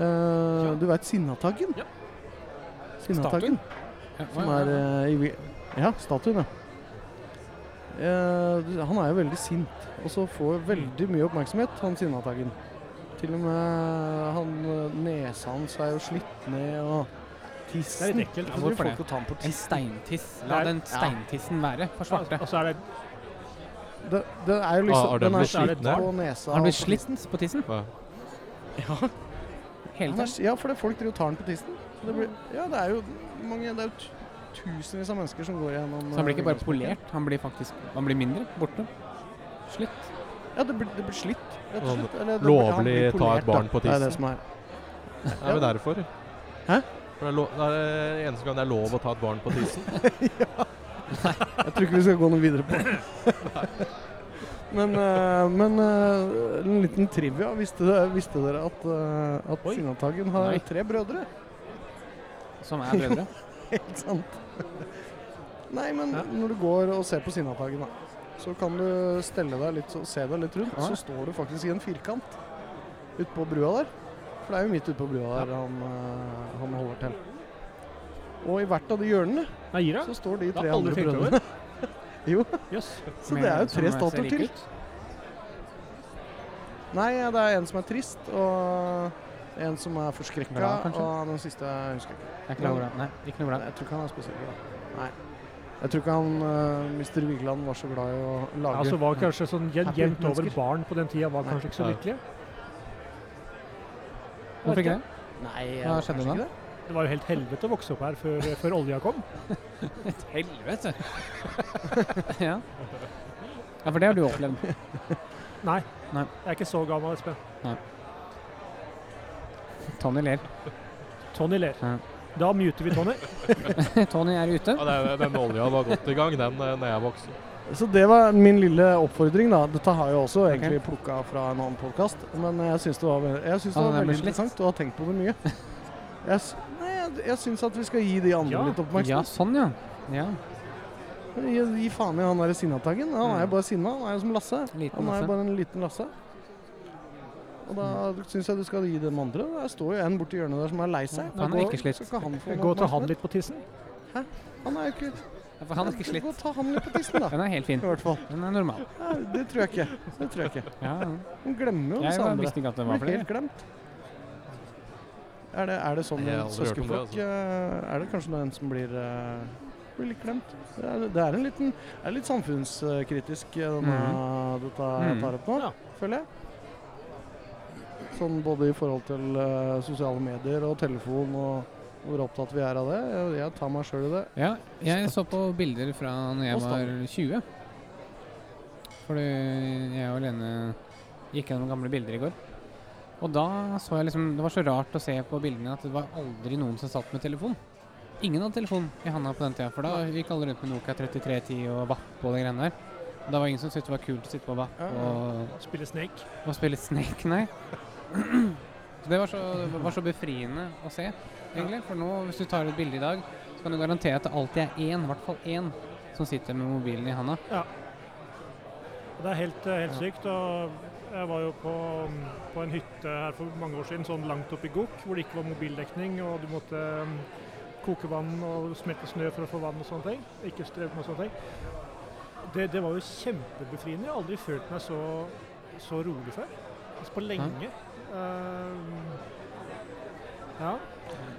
Speaker 3: eh, Du veit Sinnataggen?
Speaker 4: Ja.
Speaker 3: Sinnataggen.
Speaker 2: Ja,
Speaker 3: Som
Speaker 2: ja,
Speaker 3: er
Speaker 2: ja.
Speaker 3: eh, i vi- Ja, statuen, ja. Eh, han er jo veldig sint, og så får veldig mye oppmerksomhet, han Sinnataggen. Til og med han eh, nesa hans er jo slitt ned, og
Speaker 4: Det er
Speaker 3: tissen
Speaker 4: litt ekkelt.
Speaker 2: Ja,
Speaker 3: Altså,
Speaker 2: hvorfor
Speaker 3: folk
Speaker 2: det?
Speaker 3: å ta den på
Speaker 2: En
Speaker 3: tissen.
Speaker 2: steintiss. La
Speaker 4: Nei,
Speaker 2: den
Speaker 4: ja.
Speaker 2: steintissen være for svarte.
Speaker 4: Og så er det
Speaker 3: Det, det er jo liksom
Speaker 5: Ah, har den
Speaker 3: Den er
Speaker 5: blitt
Speaker 3: slitt
Speaker 5: slitt ned?
Speaker 3: på nesa.
Speaker 2: Har den blitt
Speaker 3: og på
Speaker 2: slitt på tissen?
Speaker 5: Hva?
Speaker 2: Hele
Speaker 3: tissen. Den
Speaker 2: tiden?
Speaker 3: er- Ja, for det folk driver og tar den på tissen. Så Det blir, ja, det er jo mange Det er jo tu- tusenvis av mennesker som går gjennom
Speaker 2: Så han blir ikke
Speaker 3: eh,
Speaker 2: bare polert, han blir faktisk han blir mindre. Borte. Slitt.
Speaker 3: Ja, det blir, det blir slitt, rett og
Speaker 5: Sånn
Speaker 3: slett. Eller det blir- han blir
Speaker 5: Lovlig ta
Speaker 3: polert,
Speaker 5: et barn
Speaker 3: da.
Speaker 5: på
Speaker 3: Det er
Speaker 5: tissen.
Speaker 3: det som er.
Speaker 5: Det er vel derfor.
Speaker 3: Hæ?
Speaker 5: For det er, lo det er eh, eneste gang det er lov å ta et barn på
Speaker 3: [laughs]
Speaker 5: tissen.
Speaker 3: Jeg tror ikke vi skal gå noe videre
Speaker 4: [laughs]
Speaker 3: på det. Men, eh, men eh, en liten trivia. Visste, dere- visste dere at, eh, at
Speaker 4: Oi.
Speaker 3: Sinnataggen har
Speaker 2: Nei.
Speaker 3: tre brødre? [laughs]
Speaker 2: Som er brødre.
Speaker 3: Ikke sant? Nei, men når du går og ser på Sinnataggen, da, så kan du stelle deg litt og se deg litt rundt.
Speaker 2: Ja.
Speaker 3: Så står du faktisk i en firkant utpå brua der. For det er jo midt utpå brua der han, eh, han holder til. Og i hvert av de hjørnene
Speaker 4: Nei, Gira.
Speaker 3: så står de
Speaker 4: Det
Speaker 3: tre
Speaker 4: har
Speaker 3: andre
Speaker 4: aldri tenkt
Speaker 3: brødrene.
Speaker 4: over.
Speaker 3: Jo,
Speaker 4: Jøss.
Speaker 3: [laughs] [laughs] så det er jo tre statuer til. Nei, det er en som er trist, og en som er forskrekka,
Speaker 2: Glad, kanskje?
Speaker 3: og den siste jeg husker jeg ikke.
Speaker 2: Jeg er ikke noe glad. Nei, ikke noe
Speaker 3: Nei,
Speaker 2: glad.
Speaker 3: Jeg tror ikke han er spesielt glad. Nei. Jeg tror ikke han eh, Mr. Vigeland var så glad i å lage
Speaker 4: Altså var kanskje sånn jen-
Speaker 3: Happy
Speaker 4: jevnt over
Speaker 3: mennesker.
Speaker 4: barn på den tida var kanskje ikke så
Speaker 5: Nei.
Speaker 4: lykkelige.
Speaker 2: Hvorfor ikke det?
Speaker 3: Nei,
Speaker 2: Hva
Speaker 3: det var
Speaker 2: skjedde
Speaker 3: kanskje
Speaker 2: da?
Speaker 3: ikke det.
Speaker 4: Det var jo helt helvete å vokse opp her før, før olja kom.
Speaker 2: Helvete! [laughs] ja. ja, for det har du opplevd.
Speaker 4: Nei.
Speaker 2: Nei.
Speaker 4: Jeg er ikke så gammel, Espen.
Speaker 2: Tony ler. [laughs]
Speaker 4: Tony ler.
Speaker 2: Ja.
Speaker 4: Da muter vi Tony.
Speaker 2: Tony er ute.
Speaker 5: Ja, det er, den olja var godt i gang, den, eh, når jeg vokste.
Speaker 3: Så det var min lille oppfordring, da. Dette har jeg også egentlig plukket plukka fra en annen podkast, men jeg syns det var, ve- jeg syns det
Speaker 2: Ja,
Speaker 3: var
Speaker 2: den er blitt
Speaker 3: veldig
Speaker 2: litt-
Speaker 3: interessant og har tenkt på det mye. Jeg, s- nei, jeg, jeg syns at vi skal gi de andre
Speaker 4: Ja.
Speaker 3: litt oppmerksomhet.
Speaker 2: Ja, sånn, ja. ja.
Speaker 3: Gi, gi faen i han der sinnataggen. Han er jo bare sinna. Han er jo som Lasse.
Speaker 2: Mm. Liten
Speaker 3: han er
Speaker 2: Lasse.
Speaker 3: jo bare en liten Lasse. Og da syns jeg du skal gi dem andre. Der står jo en borti hjørnet der som er lei seg.
Speaker 2: Han er
Speaker 3: Da går-
Speaker 2: ikke slitt.
Speaker 3: skal ikke han få
Speaker 4: Gå til
Speaker 3: noe
Speaker 4: han
Speaker 3: oppmerksomhet.
Speaker 4: litt på tissen.
Speaker 3: Han er jo ikke
Speaker 2: For han er ikke
Speaker 3: Gå
Speaker 2: slitt.
Speaker 3: og ta han litt på tissen,
Speaker 2: [laughs]
Speaker 3: da.
Speaker 2: Den er helt fin.
Speaker 3: I hvert fall.
Speaker 2: Den er normal.
Speaker 3: Nei, det tror jeg ikke. Det tror jeg ikke.
Speaker 2: Ja,
Speaker 3: Hun glemmer jo
Speaker 2: jeg
Speaker 3: disse andre.
Speaker 2: visste ikke at den var
Speaker 3: Blir
Speaker 2: flere.
Speaker 3: helt glemt. Er det, er det sånn
Speaker 5: Nei, jeg har
Speaker 3: en
Speaker 5: aldri hørt om det, altså.
Speaker 3: søskenflokk eh, Er det kanskje den som blir, eh, blir litt glemt? Det er, det er en liten det er litt samfunnskritisk, eh, denne,
Speaker 5: Mhm.
Speaker 3: dette jeg tar opp nå,
Speaker 4: Ja.
Speaker 3: føler jeg. Sånn både i forhold til eh, sosiale medier og telefon og hvor opptatt vi er av det. Jeg, jeg tar meg sjøl i det.
Speaker 2: Ja, jeg så på bilder fra når jeg
Speaker 3: Og
Speaker 2: var 20. Fordi jeg og Lene gikk gjennom gamle bilder i går. Og da så jeg liksom Det var så rart å se på bildene at det var aldri noen som satt med telefon. Ingen hadde telefon i handa på den tida, for da gikk alle rundt med Nokia 3310 og VAP og de greiene der. Og det var ingen som syntes det var kult å sitte på VAP
Speaker 3: Ja, ja.
Speaker 2: og
Speaker 4: Spille Snake.
Speaker 2: å spille Snake, nei. Så det var så, var så befriende å se, egentlig. For nå, hvis du tar et bilde i dag, så kan du garantere at det alltid er én, i hvert fall én, som sitter med mobilen i handa.
Speaker 4: Det er helt, eh, helt sykt. og Jeg var jo på, på en hytte her for mange år siden, sånn langt oppe i Gok, hvor det ikke var mobildekning, og du måtte eh, koke vann og smelte snø for å få vann og sånne ting. Ikke strøm og sånne ting. Det, det var jo kjempebefriende. Jeg har aldri følt meg så, så rolig før. Altså på lenge. Eh, ja.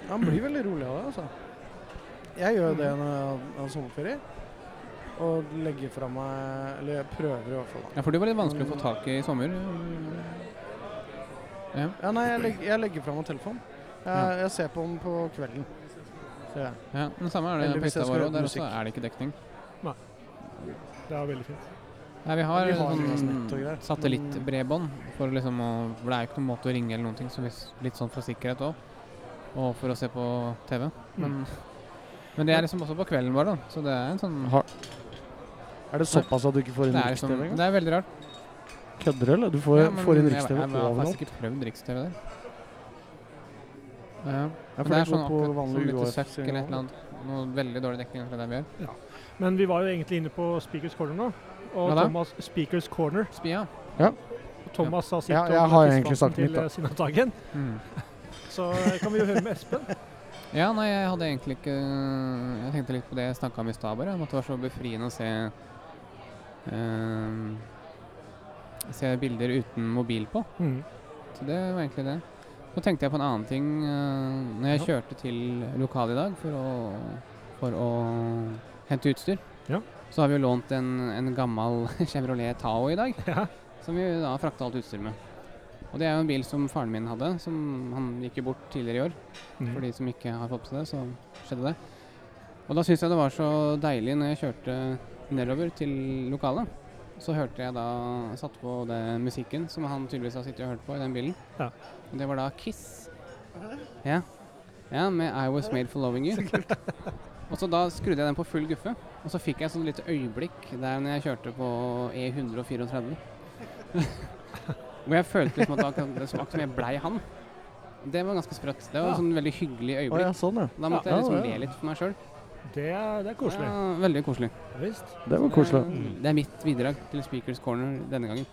Speaker 3: Han blir veldig rolig av det, altså. Jeg gjør jo det når jeg har sommerferie. Og legger fra meg Eller jeg prøver i hvert fall.
Speaker 2: Ja, for det var litt vanskelig å få tak i i sommer.
Speaker 3: Ja, nei, jeg, legg, jeg legger fra meg telefonen. Jeg, jeg ser på den på kvelden. Så jeg.
Speaker 2: Ja, men samme er det
Speaker 3: Eller
Speaker 2: på
Speaker 3: hvis jeg
Speaker 2: hytta
Speaker 3: skal
Speaker 2: vår
Speaker 3: høre
Speaker 2: òg.
Speaker 3: på
Speaker 2: Der
Speaker 3: musikk.
Speaker 2: også er det ikke dekning.
Speaker 4: Det er veldig fint.
Speaker 2: Nei, vi har,
Speaker 3: Vi har jo
Speaker 2: sånn
Speaker 3: nett og greier,
Speaker 2: satellittbredbånd, for, liksom å, for det er jo ikke noen måte å ringe eller noen ting, så hvis, litt sånn for sikkerhet òg. Og for å se på TV. Men,
Speaker 3: Mm.
Speaker 2: men det er liksom også på kvelden vår, da. Så det er en sånn
Speaker 3: Er det såpass at du ikke får inn
Speaker 2: Det er, liksom,
Speaker 3: rikstv engang?
Speaker 2: det er veldig rart.
Speaker 3: Kødder du, eller? Du får,
Speaker 2: Ja, men
Speaker 3: får inn
Speaker 2: jeg-
Speaker 3: rikstv
Speaker 2: Jeg jeg har
Speaker 3: overalt.
Speaker 2: faktisk ikke prøvd Riks-TV der. Ja,
Speaker 3: Ja,
Speaker 2: men
Speaker 3: for
Speaker 2: det
Speaker 3: det
Speaker 2: er sånn
Speaker 3: går på
Speaker 2: akkurat sånn
Speaker 3: vanlig
Speaker 2: litt
Speaker 3: UHF
Speaker 2: søkk eller et eller
Speaker 3: signal.
Speaker 2: annet. Noe veldig dårlig dekning fra der vi er.
Speaker 4: Men vi var jo egentlig inne på Speakers Corner nå. Og
Speaker 2: Hva da?
Speaker 4: Thomas Speakers Corner.
Speaker 2: Spia.
Speaker 4: Thomas sa sitt
Speaker 3: Ja, jeg
Speaker 4: om
Speaker 3: har
Speaker 4: tidsfronten
Speaker 3: egentlig sagt
Speaker 4: til,
Speaker 3: mitt, da.
Speaker 4: eh, Sinnataggen.
Speaker 2: Mm.
Speaker 4: Så eh, kan vi jo høre med Espen.
Speaker 2: Ja, nei, jeg hadde egentlig ikke Jeg tenkte litt på det jeg snakka om i stad, bare. om At det var så befriende å se eh, Se bilder uten mobil på. Så det var egentlig det. Så tenkte jeg på en annen ting eh, når jeg kjørte til lokalet i dag for å, for å hente utstyr.
Speaker 4: Ja.
Speaker 2: Så har vi jo lånt en, en gammel [laughs] Chevrolet Tao i dag,
Speaker 4: Ja.
Speaker 2: som vi da frakta alt utstyr med. Og det er jo en bil som faren min hadde, som han gikk jo bort tidligere i år.
Speaker 4: Mhm.
Speaker 2: For de som ikke har fått på seg det, så skjedde det. Og da syns jeg det var så deilig når jeg kjørte nedover til lokalet. Så hørte jeg da jeg satte på det musikken som han tydeligvis har sittet og hørt på i den bilen.
Speaker 4: Ja.
Speaker 2: Og det var da Kiss. Ja. ja, med I Was Made For Loving You. [laughs] Og så da skrudde jeg den på full guffe, og så fikk jeg et sånt lite øyeblikk der når jeg kjørte på E134. [laughs] Hvor jeg følte liksom at da, det smakte som jeg blei han. Det var ganske sprøtt. Det var et sånn veldig hyggelig
Speaker 3: Å ja,
Speaker 2: øyeblikk.
Speaker 3: sånn, ja.
Speaker 2: Da måtte jeg
Speaker 3: Ja,
Speaker 2: liksom
Speaker 3: ja.
Speaker 2: le litt for meg sjøl.
Speaker 4: Det er, det er koselig.
Speaker 2: Ja, veldig koselig. Eh,
Speaker 4: Ja. Visst.
Speaker 3: Det var koselig.
Speaker 2: Det er- Det er mitt bidrag til Speakers Corner denne gangen.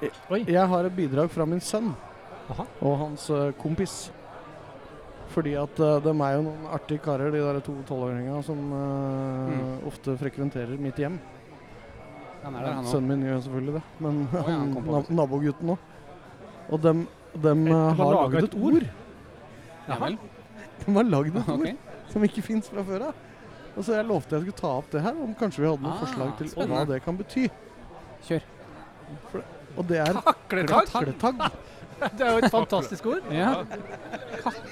Speaker 3: Eh, Jeg har et bidrag fra min sønn
Speaker 4: Aha.
Speaker 3: og hans eh, kompis. Fordi at eh, de er jo noen artige karer, de der to tolvåringene som
Speaker 2: Mm.
Speaker 3: eh, ofte frekventerer mitt hjem.
Speaker 2: Han er der, han òg.
Speaker 3: Sønnen min gjør selvfølgelig det, men
Speaker 2: ja, han kom på
Speaker 3: na
Speaker 2: det.
Speaker 3: nabogutten òg. Og dem, dem eh,
Speaker 4: har
Speaker 3: har
Speaker 4: laget
Speaker 3: lagd et ord. [laughs]
Speaker 2: Ja vel?
Speaker 3: De har lagd et
Speaker 2: Ah, Ok.
Speaker 3: ord som ikke fins fra før av. Og så jeg lovte jeg skulle ta opp det her, om kanskje vi hadde noen
Speaker 2: Ah,
Speaker 3: forslag til hva
Speaker 2: spennende.
Speaker 3: det kan bety.
Speaker 2: Kjør.
Speaker 3: For, og det er
Speaker 4: Kakletagg!
Speaker 3: kakletagg.
Speaker 4: [laughs] Det er jo et fantastisk ord.
Speaker 2: Ja.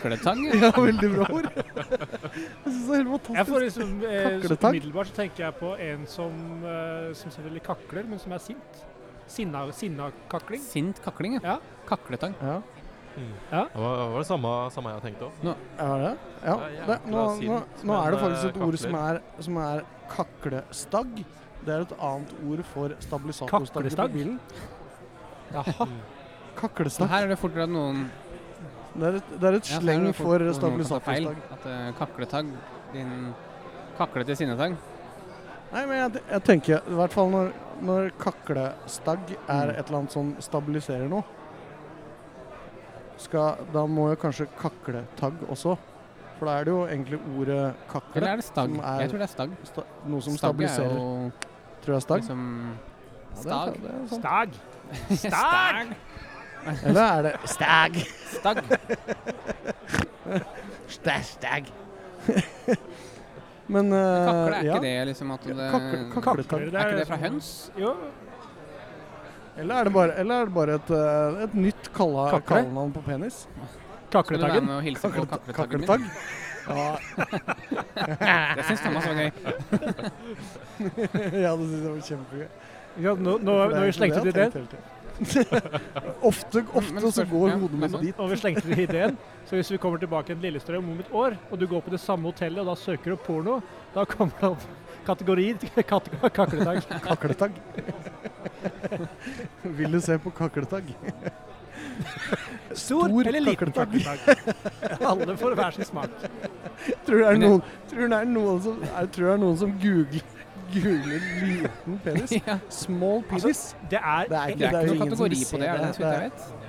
Speaker 2: Kakletang. ja.
Speaker 3: Ja, veldig bra
Speaker 2: [laughs]
Speaker 3: ord. Jeg synes det er helt fantastisk.
Speaker 4: Jeg får liksom, eh, så
Speaker 3: Kakletagg?
Speaker 4: Umiddelbart så tenker jeg på en som, eh, som selvfølgelig kakler, men som er sint. Sinna, sinna kakling.
Speaker 2: Sint kakling, ja.
Speaker 4: Ja.
Speaker 2: Kakletang.
Speaker 3: Ja.
Speaker 5: Det var, var det samme, samme jeg tenkte òg.
Speaker 3: Er det?
Speaker 5: Det
Speaker 3: Ja.
Speaker 5: er
Speaker 3: Det,
Speaker 5: jækla
Speaker 3: nå, nå,
Speaker 5: sint,
Speaker 3: nå er det
Speaker 5: men,
Speaker 3: faktisk et
Speaker 5: eh,
Speaker 3: ord som
Speaker 5: kakler.
Speaker 3: er, som er kaklestagg. Det er et annet ord for stabilisatorstagger på
Speaker 4: Kaklestagg?
Speaker 3: bilen.
Speaker 4: Jaha.
Speaker 2: Så
Speaker 3: Kaklestagg.
Speaker 2: her er det fortere at noen
Speaker 3: Det er et, det er et
Speaker 2: Ja, så her
Speaker 3: sleng
Speaker 2: er det fort
Speaker 3: for
Speaker 2: noen som tar feil.
Speaker 3: stabilisatorstagg.
Speaker 2: At eh, kakletagg Din kaklete sinnetagg.
Speaker 3: Nei, men jeg, jeg tenker i hvert fall når, når kaklestagg
Speaker 2: Mm.
Speaker 3: er et eller annet som stabiliserer noe skal, Da må jo kanskje kakletagg også. For da er det jo egentlig ordet
Speaker 2: Eller
Speaker 3: kakle.
Speaker 2: er det stagg?
Speaker 3: Som er-
Speaker 2: Jeg tror det er stagg.
Speaker 3: Sta, noe som
Speaker 2: Stagg er
Speaker 3: stabiliserer.
Speaker 2: jo
Speaker 3: Tror jeg er stagg.
Speaker 2: liksom
Speaker 3: Ja, det
Speaker 2: Stag.
Speaker 3: er- det er sant.
Speaker 4: Stag.
Speaker 2: Stag!
Speaker 3: Eller er det stag?
Speaker 2: [laughs]
Speaker 3: [laughs]
Speaker 2: Stagg.
Speaker 3: Stag. Men eh,
Speaker 2: Kakle, er
Speaker 3: ja.
Speaker 2: ikke det liksom at det
Speaker 3: Kakle, kakletagg.
Speaker 2: Er ikke det fra høns?
Speaker 4: Jo,
Speaker 3: Eller er det bare, eller er det bare et, eh, et nytt kalla-
Speaker 4: Kakle?
Speaker 3: kallenavn på penis?
Speaker 2: Skal du være
Speaker 4: kakletaggen.
Speaker 2: med og hilse på
Speaker 3: Kaklet-
Speaker 2: kakletaggen
Speaker 3: kakletagg?
Speaker 2: min? [laughs]
Speaker 3: Ja,
Speaker 2: Det syns Thomas var gøy.
Speaker 3: [laughs] ja, det synes jeg var kjempegøy.
Speaker 4: Ja, nå, nå,
Speaker 3: For
Speaker 4: nå
Speaker 3: er
Speaker 4: vi slengte
Speaker 3: egentlig
Speaker 4: ut ideen,
Speaker 3: jeg har tenkt hele tiden. [laughs] ofte
Speaker 2: Men sånn.
Speaker 3: ofte så
Speaker 2: spørs-
Speaker 3: går
Speaker 2: ja,
Speaker 3: hodet
Speaker 2: det er
Speaker 3: mitt
Speaker 2: sant.
Speaker 3: dit.
Speaker 4: og vi slengte ut ideen. Så hvis vi kommer tilbake til Lillestrøm om et år, og du går på det samme hotellet og da søker opp porno, da kommer det opp kategorier til [laughs] kate-
Speaker 3: [laughs]
Speaker 4: kakletagg.
Speaker 3: Kakletagg. Vil du se på kakletagg?
Speaker 4: Stor eller liten
Speaker 3: kakletagg.
Speaker 4: kakletagg. Alle får hver sin smak.
Speaker 3: Tror det er
Speaker 2: Men jeg-
Speaker 3: noen, tror det er noen som, jeg tror det er noen som googler, googler liten
Speaker 4: [laughs]
Speaker 3: [laughs] penis.
Speaker 2: Ja.
Speaker 3: Small
Speaker 2: Altså,
Speaker 3: penis.
Speaker 4: Det er,
Speaker 3: Det er
Speaker 2: Det er
Speaker 3: ikke-
Speaker 2: ikke noen
Speaker 3: jo ingen som
Speaker 2: kategori
Speaker 3: vil
Speaker 2: på
Speaker 3: se
Speaker 2: det, er det så vidt jeg
Speaker 3: Det
Speaker 2: vet?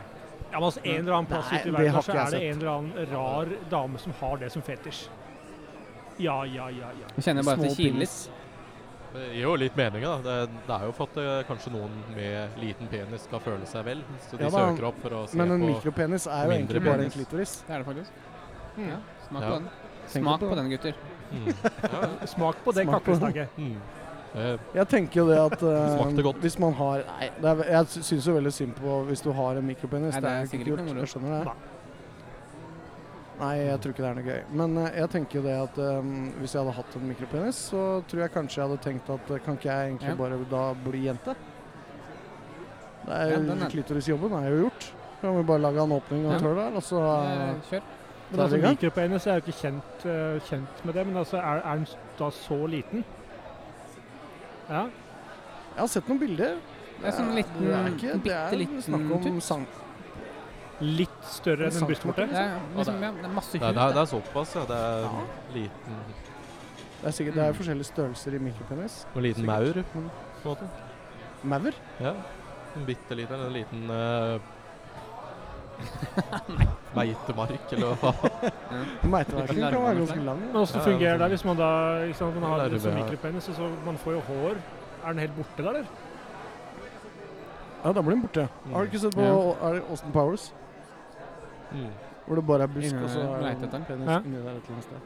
Speaker 4: ja, men altså, en eller annen plass
Speaker 3: Nei,
Speaker 4: ute i
Speaker 3: det har
Speaker 4: verden
Speaker 3: ikke
Speaker 4: så er
Speaker 3: jeg
Speaker 4: det
Speaker 3: sett.
Speaker 4: en eller annen rar dame som har det som fetisj. Ja, ja, ja. ja.
Speaker 2: Jeg kjenner bare at det
Speaker 3: Small
Speaker 2: kiler litt.
Speaker 5: Det gir jo litt mening, da. Det, det er jo for at eh, kanskje noen med liten penis skal føle seg vel. Så de
Speaker 3: Ja, men-
Speaker 5: søker opp for å se
Speaker 3: Men en
Speaker 5: på
Speaker 3: mikropenis er jo
Speaker 5: mindre
Speaker 3: egentlig bare en
Speaker 5: penis.
Speaker 3: klitoris.
Speaker 2: Det er det faktisk. Ja, smak
Speaker 5: Ja.
Speaker 2: på den.
Speaker 3: Tenk
Speaker 2: Smak
Speaker 3: på
Speaker 2: på
Speaker 3: det.
Speaker 2: den, gutter.
Speaker 5: mm. ja, ja.
Speaker 4: Smak på det
Speaker 3: Smak på det. [laughs]
Speaker 4: kaklestagget.
Speaker 5: mm. Eh,
Speaker 3: Jeg tenker jo det
Speaker 5: [laughs]
Speaker 3: at eh,
Speaker 5: Smakte godt.
Speaker 3: hvis man har Nei, det er, jeg sy- syns jo veldig synd på hvis du har en mikropenis.
Speaker 2: Nei,
Speaker 3: det er
Speaker 2: sikkert
Speaker 3: ikke
Speaker 2: ikke
Speaker 3: kult.
Speaker 2: noe moro.
Speaker 3: Jeg skjønner det. Nei, jeg tror ikke det er noe gøy. Men eh, jeg tenker jo det at eh, hvis jeg hadde hatt en mikropenis, så tror jeg kanskje jeg hadde tenkt at eh, kan ikke jeg egentlig
Speaker 2: Ja.
Speaker 3: bare da bli jente? Det er,
Speaker 2: Ja,
Speaker 3: jo-
Speaker 2: den er-
Speaker 3: Klitorisjobben er jo gjort. Kan vi bare lage en åpning og
Speaker 2: Ja.
Speaker 3: et hull der, og så
Speaker 2: Eh, Kjør.
Speaker 4: Men
Speaker 3: Da er
Speaker 4: altså,
Speaker 3: vi i gang.
Speaker 4: mikropenis er jo ikke kjent, eh, kjent med det, men altså, er, er den s- da så liten? Ja.
Speaker 3: Jeg har sett noen bilder.
Speaker 2: Det er sånn liten,
Speaker 3: det er ikke, det
Speaker 2: bitte
Speaker 3: er
Speaker 2: liten
Speaker 3: snakk om
Speaker 2: tutt.
Speaker 3: sang...
Speaker 4: Litt større enn en brystvorte.
Speaker 2: Det er, liksom, ja, det er masse
Speaker 5: det, er-
Speaker 2: hud.
Speaker 5: det, er-
Speaker 2: da.
Speaker 5: det er såpass, ja. Det er liten,
Speaker 3: Det er sikkert det
Speaker 2: Mm.
Speaker 3: er forskjellige størrelser i mikropenis.
Speaker 5: en liten maur, på en måte.
Speaker 3: Maur?
Speaker 5: Ja. En bitte liten, en liten
Speaker 3: [laughs]
Speaker 5: eh, Meitemark, eller hva?
Speaker 3: Meiteverken kan være ganske lang.
Speaker 4: Men åssen
Speaker 5: Ja,
Speaker 4: fungerer det
Speaker 5: altså.
Speaker 4: hvis man da ikke sant, man har
Speaker 5: Larve,
Speaker 4: det som
Speaker 5: ja.
Speaker 4: mikropenis, og så man får jo hår? Er den helt borte der, eller?
Speaker 3: Ja, da blir den borte. Har du ikke sett på er det Austin Powers?
Speaker 5: Mm.
Speaker 3: Hvor det bare er busk,
Speaker 2: Ingen
Speaker 3: og så er
Speaker 2: leit
Speaker 3: det
Speaker 2: etter den.
Speaker 3: penis
Speaker 4: Hæ?
Speaker 3: inni der et eller annet sted.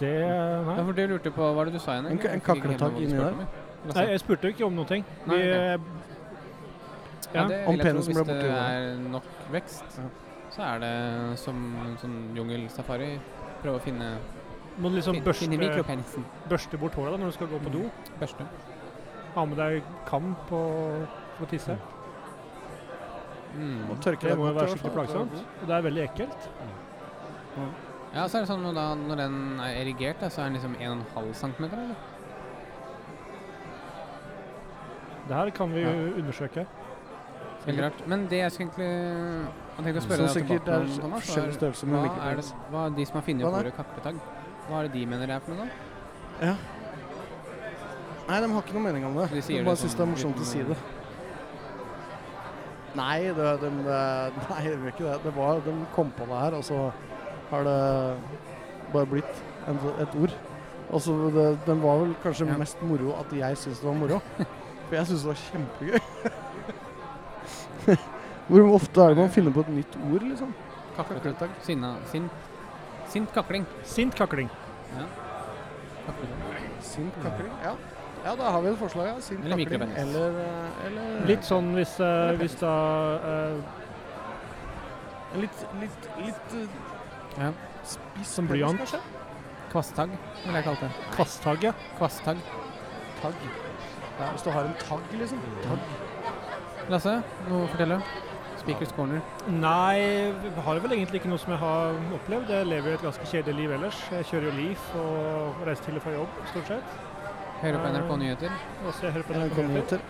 Speaker 4: Det
Speaker 2: Ja,
Speaker 4: Nei.
Speaker 2: for du lurte på Hva var det du sa igjen?
Speaker 3: En
Speaker 2: egentlig?
Speaker 3: ka- en
Speaker 2: Jeg fikk ikke helt
Speaker 3: kakletagg
Speaker 2: med hva du
Speaker 3: inni
Speaker 2: spurte
Speaker 3: der.
Speaker 2: om, jeg.
Speaker 4: Nei, jeg spurte jo ikke om noen ting.
Speaker 2: Nei,
Speaker 4: Vi,
Speaker 2: ok.
Speaker 4: ja.
Speaker 2: Ja, det
Speaker 3: Om
Speaker 2: vil jeg tro.
Speaker 3: penisen
Speaker 2: Hvis
Speaker 3: ble
Speaker 2: det
Speaker 3: borti hodet.
Speaker 2: er nok vekst,
Speaker 3: Ja.
Speaker 2: så er det som en sånn jungelsafari. Prøve å finne,
Speaker 4: Må du liksom
Speaker 2: fin- finne
Speaker 4: børste,
Speaker 2: mikropenisen.
Speaker 4: børste bort håret da når du skal gå på do?
Speaker 2: Børste.
Speaker 4: Ha med deg kam på, for å tisse?
Speaker 2: Mm.
Speaker 3: Og tørke
Speaker 4: Det
Speaker 3: deg
Speaker 4: må jo
Speaker 3: godt, i
Speaker 4: være
Speaker 3: hvert
Speaker 4: skikkelig
Speaker 3: fall.
Speaker 4: plagsomt. Og det er veldig ekkelt.
Speaker 2: Ja, så er det sånn når, da, når den er erigert, da, så er den liksom 1,5 cm, eller?
Speaker 4: Det her kan vi jo
Speaker 2: Ja.
Speaker 4: undersøke.
Speaker 2: Veldig rart. Men det jeg skulle egentlig Jeg tenkte å
Speaker 3: Så
Speaker 2: spørre deg
Speaker 3: sikkert
Speaker 2: tilbake
Speaker 3: det er
Speaker 2: om, Thomas,
Speaker 3: forskjellige
Speaker 2: var,
Speaker 3: størrelser
Speaker 2: hva
Speaker 3: med
Speaker 2: er det
Speaker 3: mikropenis.
Speaker 2: hva er de som har funnet opp
Speaker 3: Hva da?
Speaker 2: ordet kakletagg? Hva er det de mener det er for noe, da?
Speaker 3: Nei, de har ikke noe mening om det.
Speaker 2: De
Speaker 3: De,
Speaker 2: sier
Speaker 3: bare
Speaker 2: det
Speaker 3: syns det er
Speaker 2: sånn
Speaker 3: morsomt å
Speaker 2: uten-
Speaker 3: si det. Nei, det, de, nei, de gjør ikke det. det var, de kom på det her, og så har det bare blitt en, et ord. Og så det, den var vel kanskje
Speaker 2: Ja.
Speaker 3: mest moro at jeg syntes det var
Speaker 2: [laughs]
Speaker 3: moro. For jeg syntes det var kjempegøy. [laughs] Hvor ofte er det man finner på et nytt ord, liksom?
Speaker 2: Kakletagg. Sinna, sint, sint kakling.
Speaker 4: Sint kakling.
Speaker 2: Kakletagg.
Speaker 3: Sint kakling? Ja. ja, da har vi et forslag. Ja. Sint
Speaker 2: Eller
Speaker 3: kakling.
Speaker 2: mikropenis.
Speaker 3: Eller, eh, eller
Speaker 4: Litt sånn hvis, eh, hvis da eh,
Speaker 3: Litt, litt, litt eh,
Speaker 2: Ja.
Speaker 3: spiss
Speaker 4: Som blyant.
Speaker 3: penis, kanskje?
Speaker 2: Kvasstagg, ville jeg kalt det.
Speaker 4: Kvasthage.
Speaker 2: Kvasstagg.
Speaker 3: Tagg. Ja, hvis du har en tagg, liksom. Tagg.
Speaker 2: Lasse, noe å fortelle? Speakers corner.
Speaker 4: Nei, vi har vel egentlig ikke noe som jeg har opplevd. Jeg lever jo et ganske kjedelig liv ellers. Jeg kjører jo Leaf og reiser til og fra jobb, stort sett.
Speaker 2: Hører på NRK Nyheter.
Speaker 4: Og så jeg hører på
Speaker 3: Jeg
Speaker 4: NRK
Speaker 3: kom
Speaker 4: Nyheter.
Speaker 3: hit til.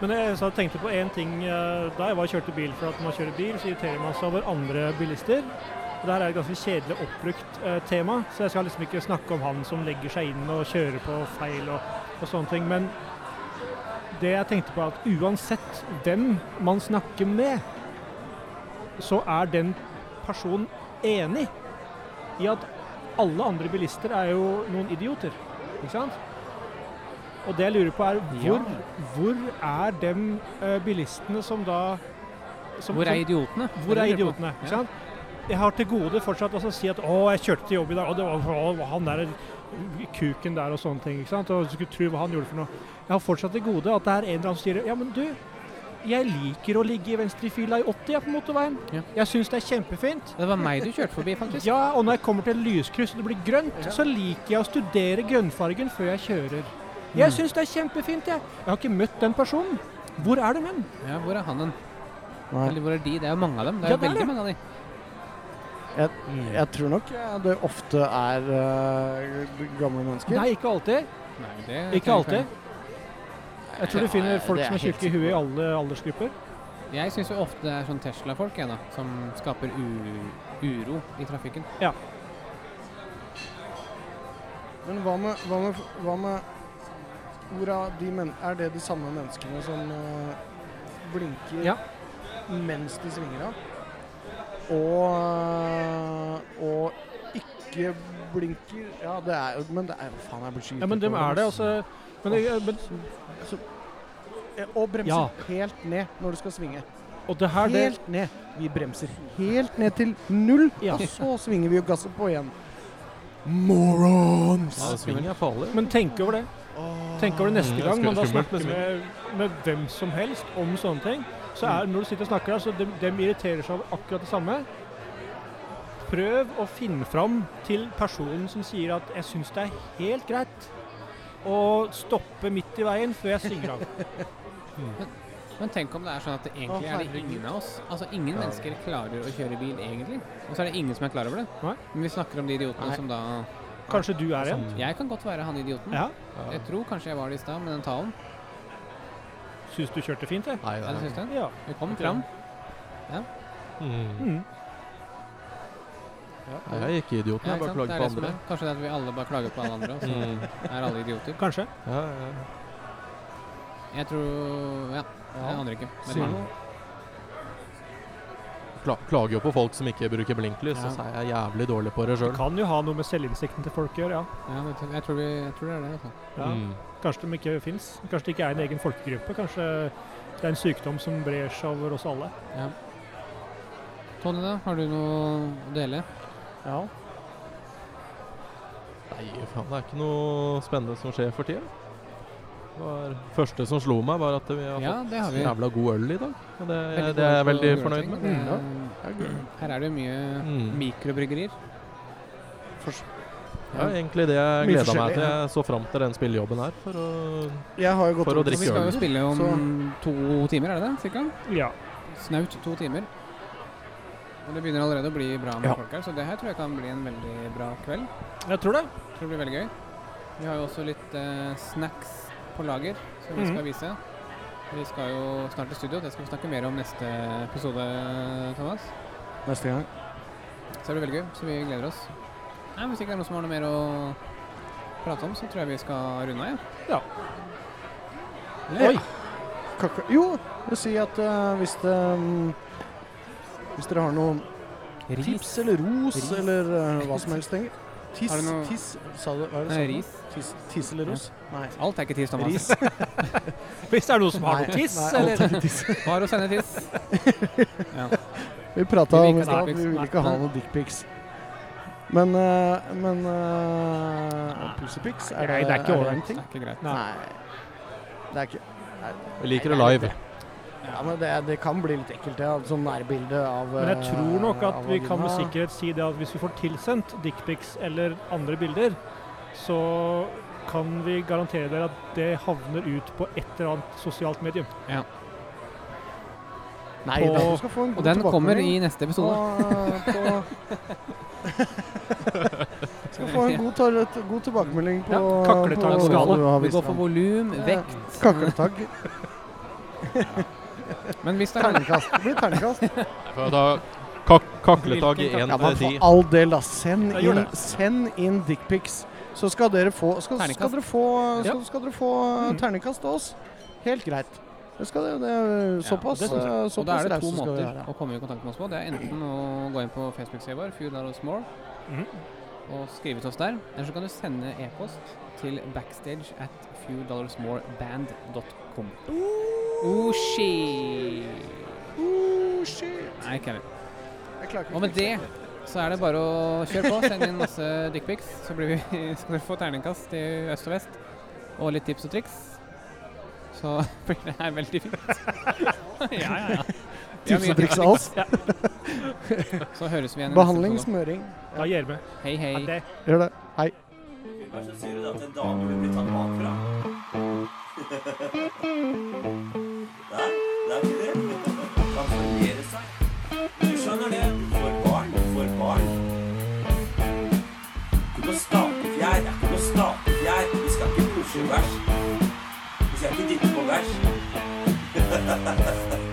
Speaker 4: Men jeg så tenkte på én ting eh, da jeg var og kjørte bil. For at når man kjører bil, så irriterer man seg over andre bilister. Og det her er et ganske kjedelig oppbrukt eh, tema, så jeg skal liksom ikke snakke om han som legger seg inn og kjører på feil og, og sånne ting. Men det jeg tenkte på, er at uansett hvem man snakker med, så er den personen enig i at alle andre bilister er jo noen idioter. Ikke sant? Og det jeg lurer på er hvor, hvor er dem eh, bilistene som da som,
Speaker 2: Hvor er
Speaker 4: som-
Speaker 2: idiotene?
Speaker 4: hvor
Speaker 2: Det
Speaker 4: er
Speaker 2: lurer jeg på.
Speaker 4: idiotene? Ikke
Speaker 2: Ja.
Speaker 4: sant? Jeg har til gode fortsatt også å si at å, jeg kjørte til jobb i dag, og det var å, han der kuken der og sånne ting. ikke sant? Og du skulle tro hva han gjorde for noe. Jeg har fortsatt til gode at det er en eller annen som sier ja, men du, jeg liker å ligge i venstrefila i 80 jeg, på motorveien.
Speaker 2: Ja.
Speaker 4: Jeg syns det er kjempefint.
Speaker 2: Det var meg du kjørte forbi, faktisk.
Speaker 4: Ja, og når jeg kommer til et lyskryss og det blir grønt, så liker jeg å studere grønnfargen før jeg kjører.
Speaker 3: Mm.
Speaker 4: Jeg syns det er kjempefint, jeg. Jeg har ikke møtt den personen. Hvor er de hen?
Speaker 2: Ja, hvor er han hen?
Speaker 3: Nei.
Speaker 2: Eller hvor er de? Det er jo mange av dem. Det er
Speaker 4: Ja,
Speaker 2: jo
Speaker 4: det er
Speaker 2: veldig
Speaker 4: det.
Speaker 2: mange av de.
Speaker 3: Jeg tror nok eh, det ofte er eh, gamle mennesker.
Speaker 4: Nei, ikke alltid.
Speaker 2: Nei, det
Speaker 4: Ikke
Speaker 2: kan jeg
Speaker 4: alltid. Jeg tror du finner folk
Speaker 3: det er
Speaker 4: som er
Speaker 3: helt
Speaker 4: tjukke i huet i alle aldersgrupper.
Speaker 2: Jeg syns jo ofte det er sånn Tesla-folk jeg da, som skaper u uro i trafikken.
Speaker 3: Men hva med, hva med, hva med hvor er, de men er det de samme menneskene som eh, blinker
Speaker 4: Ja.
Speaker 3: mens de svinger av? eh, Og, og ikke blinker Ja, det er jo Men det er jo faen, jeg blir så
Speaker 4: Ja, men dem er
Speaker 3: irritert over
Speaker 4: det,
Speaker 3: dem,
Speaker 4: altså. Men, det- men,
Speaker 3: Eh, Og bremser
Speaker 4: Ja.
Speaker 3: helt ned når du skal svinge.
Speaker 4: og det her, det,
Speaker 3: Helt ned. Vi bremser helt ned til null,
Speaker 4: Ja.
Speaker 3: og så svinger vi og gasser på igjen. Morons!
Speaker 5: Ja, sving er farlig.
Speaker 4: men tenk over det. Tenk over det neste
Speaker 5: Mm,
Speaker 4: gang man da
Speaker 5: skummelt,
Speaker 4: snakker
Speaker 5: liksom.
Speaker 4: med, med hvem som helst om sånne ting. Så er, når du sitter og snakker der, så dem, dem irriterer seg over akkurat det samme. Prøv å finne fram til personen som sier at 'jeg syns det er helt greit' å stoppe midt i veien før jeg svinger av.
Speaker 2: Men tenk om det er sånn at det egentlig
Speaker 3: Å,
Speaker 2: er det
Speaker 3: herregud.
Speaker 2: ingen av oss. Altså, ingen mennesker klarer å kjøre bil egentlig. Og så er det ingen som er klar over det.
Speaker 4: Nei.
Speaker 2: Men vi snakker om de idiotene som da
Speaker 4: Kanskje du er en?
Speaker 2: Jeg kan godt være han idioten.
Speaker 4: Ja.
Speaker 2: Jeg tror kanskje jeg var det i stad med den talen.
Speaker 4: Syns du kjørte fint, jeg?
Speaker 5: Nei,
Speaker 2: Ja, det
Speaker 5: det
Speaker 2: syns jeg.
Speaker 4: Ja.
Speaker 2: Vi kom fram.
Speaker 5: er mm.
Speaker 4: Mm.
Speaker 5: Nei, jeg er ikke idiot.
Speaker 2: Ja,
Speaker 5: Jeg
Speaker 2: ikke
Speaker 5: bare
Speaker 2: sant? Det
Speaker 5: klager
Speaker 2: er
Speaker 5: på
Speaker 2: det som
Speaker 5: andre.
Speaker 2: er. Kanskje det er at vi alle bare klager på alle andre, og så
Speaker 5: Mm.
Speaker 2: er alle idioter.
Speaker 4: Kanskje.
Speaker 5: Ja, ja.
Speaker 2: Jeg tror Ja, jeg aner ikke.
Speaker 5: Synd.
Speaker 2: Men
Speaker 5: Kla klager jo på folk som ikke bruker blinklys,
Speaker 2: Ja.
Speaker 5: og så er jeg jævlig dårlig på
Speaker 4: Det
Speaker 5: det sjøl.
Speaker 4: kan jo ha noe med selvinnsikten til folk å gjøre, ja.
Speaker 2: ja, det- jeg, tror vi, jeg tror det er det. Altså.
Speaker 4: ja.
Speaker 5: Mm.
Speaker 4: Kanskje de ikke fins. Kanskje det ikke er en egen folkegruppe. Kanskje det er en sykdom som brer seg over oss alle.
Speaker 2: Tony, da? Har du noe å dele?
Speaker 3: Ja.
Speaker 5: Nei, faen, det er ikke noe spennende som skjer for tida. Det var- første som slo meg, var at vi har
Speaker 2: Ja, det har
Speaker 5: fått
Speaker 2: vi.
Speaker 5: jævla god øl i dag. Og det,
Speaker 2: Veldig
Speaker 5: Eh, det er jeg
Speaker 2: god
Speaker 5: veldig
Speaker 2: på
Speaker 5: fornøyd
Speaker 2: juleting.
Speaker 5: med.
Speaker 2: Det er-
Speaker 3: Mm. Det er
Speaker 2: Her er det jo mye
Speaker 5: Mm.
Speaker 2: mikrobryggerier.
Speaker 5: Ja, egentlig det jeg
Speaker 3: Mye
Speaker 5: gleda meg
Speaker 3: forskjellig,
Speaker 5: til. Jeg så fram til den spillejobben her for å
Speaker 3: Jeg har jo gått
Speaker 5: For å
Speaker 3: over til
Speaker 2: Og vi
Speaker 5: drikke
Speaker 2: skal jo
Speaker 5: øl.
Speaker 2: spille om
Speaker 3: Så-
Speaker 2: to timer, er det det? Cirka?
Speaker 4: Ja.
Speaker 2: Snaut to timer. Og det begynner allerede å bli bra med
Speaker 3: Ja.
Speaker 2: folk her, så det her tror jeg kan bli en veldig bra kveld.
Speaker 4: Jeg tror det.
Speaker 2: Tror det blir veldig gøy. Vi har jo også litt eh, snacks på lager som
Speaker 5: Mm.
Speaker 2: vi
Speaker 4: Mhm.
Speaker 2: skal vise. Vi skal jo snart til studio, det skal vi snakke mer om neste episode, Thomas.
Speaker 3: neste gang.
Speaker 2: Så det blir veldig gøy, så vi gleder oss. Nei, Hvis ikke det er noen som har noe mer å prate om, så tror jeg vi skal runde av,
Speaker 4: Ja.
Speaker 2: Eller?
Speaker 3: Oi. Kaka Eh, jo, jeg sier at eh, hvis det mm, Hvis dere har noen
Speaker 2: Ris.
Speaker 3: tips eller ros
Speaker 2: Ris.
Speaker 3: eller eh, hva som helst lenger Tiss,
Speaker 2: Har du noe-
Speaker 3: tiss Sa du hva er det?
Speaker 2: Nei,
Speaker 3: sa du?
Speaker 2: eh, ris.
Speaker 3: Tiss, tiss eller ros? Nei.
Speaker 2: Alt er ikke tiss, Thomas. [laughs]
Speaker 3: Ris.
Speaker 4: Hvis det er noen som har noe
Speaker 3: Nei,
Speaker 4: tiss,
Speaker 3: nei, alt
Speaker 4: eller
Speaker 3: er ikke tiss.
Speaker 2: Bare å sende
Speaker 4: [laughs]
Speaker 2: tiss.
Speaker 3: Vi prata
Speaker 2: Vi vil ikke
Speaker 3: om i
Speaker 2: ha
Speaker 3: stad,
Speaker 2: dickpics.
Speaker 3: vi vil ikke ha
Speaker 2: Nei.
Speaker 3: noen dickpics. Men eh, Men uh, Pussypics,
Speaker 4: Nei,
Speaker 3: er det,
Speaker 4: det er ikke
Speaker 3: en
Speaker 4: ålreit.
Speaker 2: Det
Speaker 3: ting?
Speaker 2: er ikke greit.
Speaker 4: Nei.
Speaker 3: Nei. Det er ikke nei,
Speaker 5: Jeg liker det
Speaker 3: nei,
Speaker 5: live.
Speaker 3: Ja, men det, det kan bli litt ekkelt, ja. Sånn nærbilde av
Speaker 4: Men jeg
Speaker 3: eh,
Speaker 4: tror nok at
Speaker 3: av
Speaker 4: vi kan med
Speaker 3: vagina.
Speaker 4: sikkerhet si det at hvis vi får tilsendt dickpics eller andre bilder, så kan vi garantere dere at det havner ut på et eller annet sosialt medium.
Speaker 3: Nei
Speaker 4: På-
Speaker 3: da, du skal få en
Speaker 2: Og
Speaker 3: god
Speaker 2: den kommer
Speaker 3: tilbakemelding
Speaker 2: i neste episode.
Speaker 3: På, på skal få en god, tar- god tilbakemelding på
Speaker 2: Ja,
Speaker 4: kakletagskala.
Speaker 3: på hva du har
Speaker 2: Vi
Speaker 3: vist
Speaker 2: går for
Speaker 3: fram.
Speaker 2: volum,
Speaker 3: Ja.
Speaker 2: vekt
Speaker 3: Kakletag.
Speaker 2: Men hvis det er
Speaker 3: Ternekast. Det blir ternekast.
Speaker 5: For da kak kakletag i én
Speaker 3: Ja,
Speaker 2: eh,
Speaker 3: men
Speaker 5: til
Speaker 3: for
Speaker 5: ti.
Speaker 3: all del, da. Send
Speaker 4: Jeg gjør
Speaker 3: inn, send inn dickpics. Så skal dere få Skal, skal
Speaker 2: Ternekast. Mm.
Speaker 3: dere få,
Speaker 4: Ja.
Speaker 3: så skal dere få eh, ternekast av oss. Helt greit. Det skal det, det er såpass.
Speaker 2: det synes
Speaker 3: eh,
Speaker 2: Og da
Speaker 3: såpass
Speaker 2: er det to
Speaker 3: rause skal vi
Speaker 2: måter
Speaker 3: være.
Speaker 2: å komme i kontakt med oss på. Det er enten å gå inn på Facebook-sida vår, Few Dollars More,
Speaker 4: Mhm.
Speaker 2: og skrive til oss der. Eller så kan du sende e-post til backstage at fewdollarsmoreband.com. Oh, shit.
Speaker 3: Oh, shit.
Speaker 2: Nei, Kevin.
Speaker 3: Jeg klarer ikke å
Speaker 2: Og med det så er det bare å kjøre på. Send inn masse dickpics, så blir vi, [laughs] skal dere få terningkast til øst og vest. Og litt tips og triks. Så [laughs] blir det her veldig fint. [laughs] ja, ja, ja. Vi sånn. har
Speaker 3: Tips
Speaker 2: mye
Speaker 3: og triks av oss.
Speaker 2: Så høres vi igjen i neste
Speaker 3: Behandling,
Speaker 2: episode.
Speaker 3: smøring.
Speaker 4: Da gir vi.
Speaker 2: Hei, hei.
Speaker 4: Ha det.
Speaker 3: Gjør det. Hei.
Speaker 1: Hva så sier du da til en dame du blir tatt bakfra? Nei, det er ikke det. Kan formere seg. Du skjønner det. Du får barn. Du får barn. Du må stake fjær. Det er ikke noe stake fjær. Vi skal [laughs] ikke pushe vers. Vi skal ikke dytte på vers.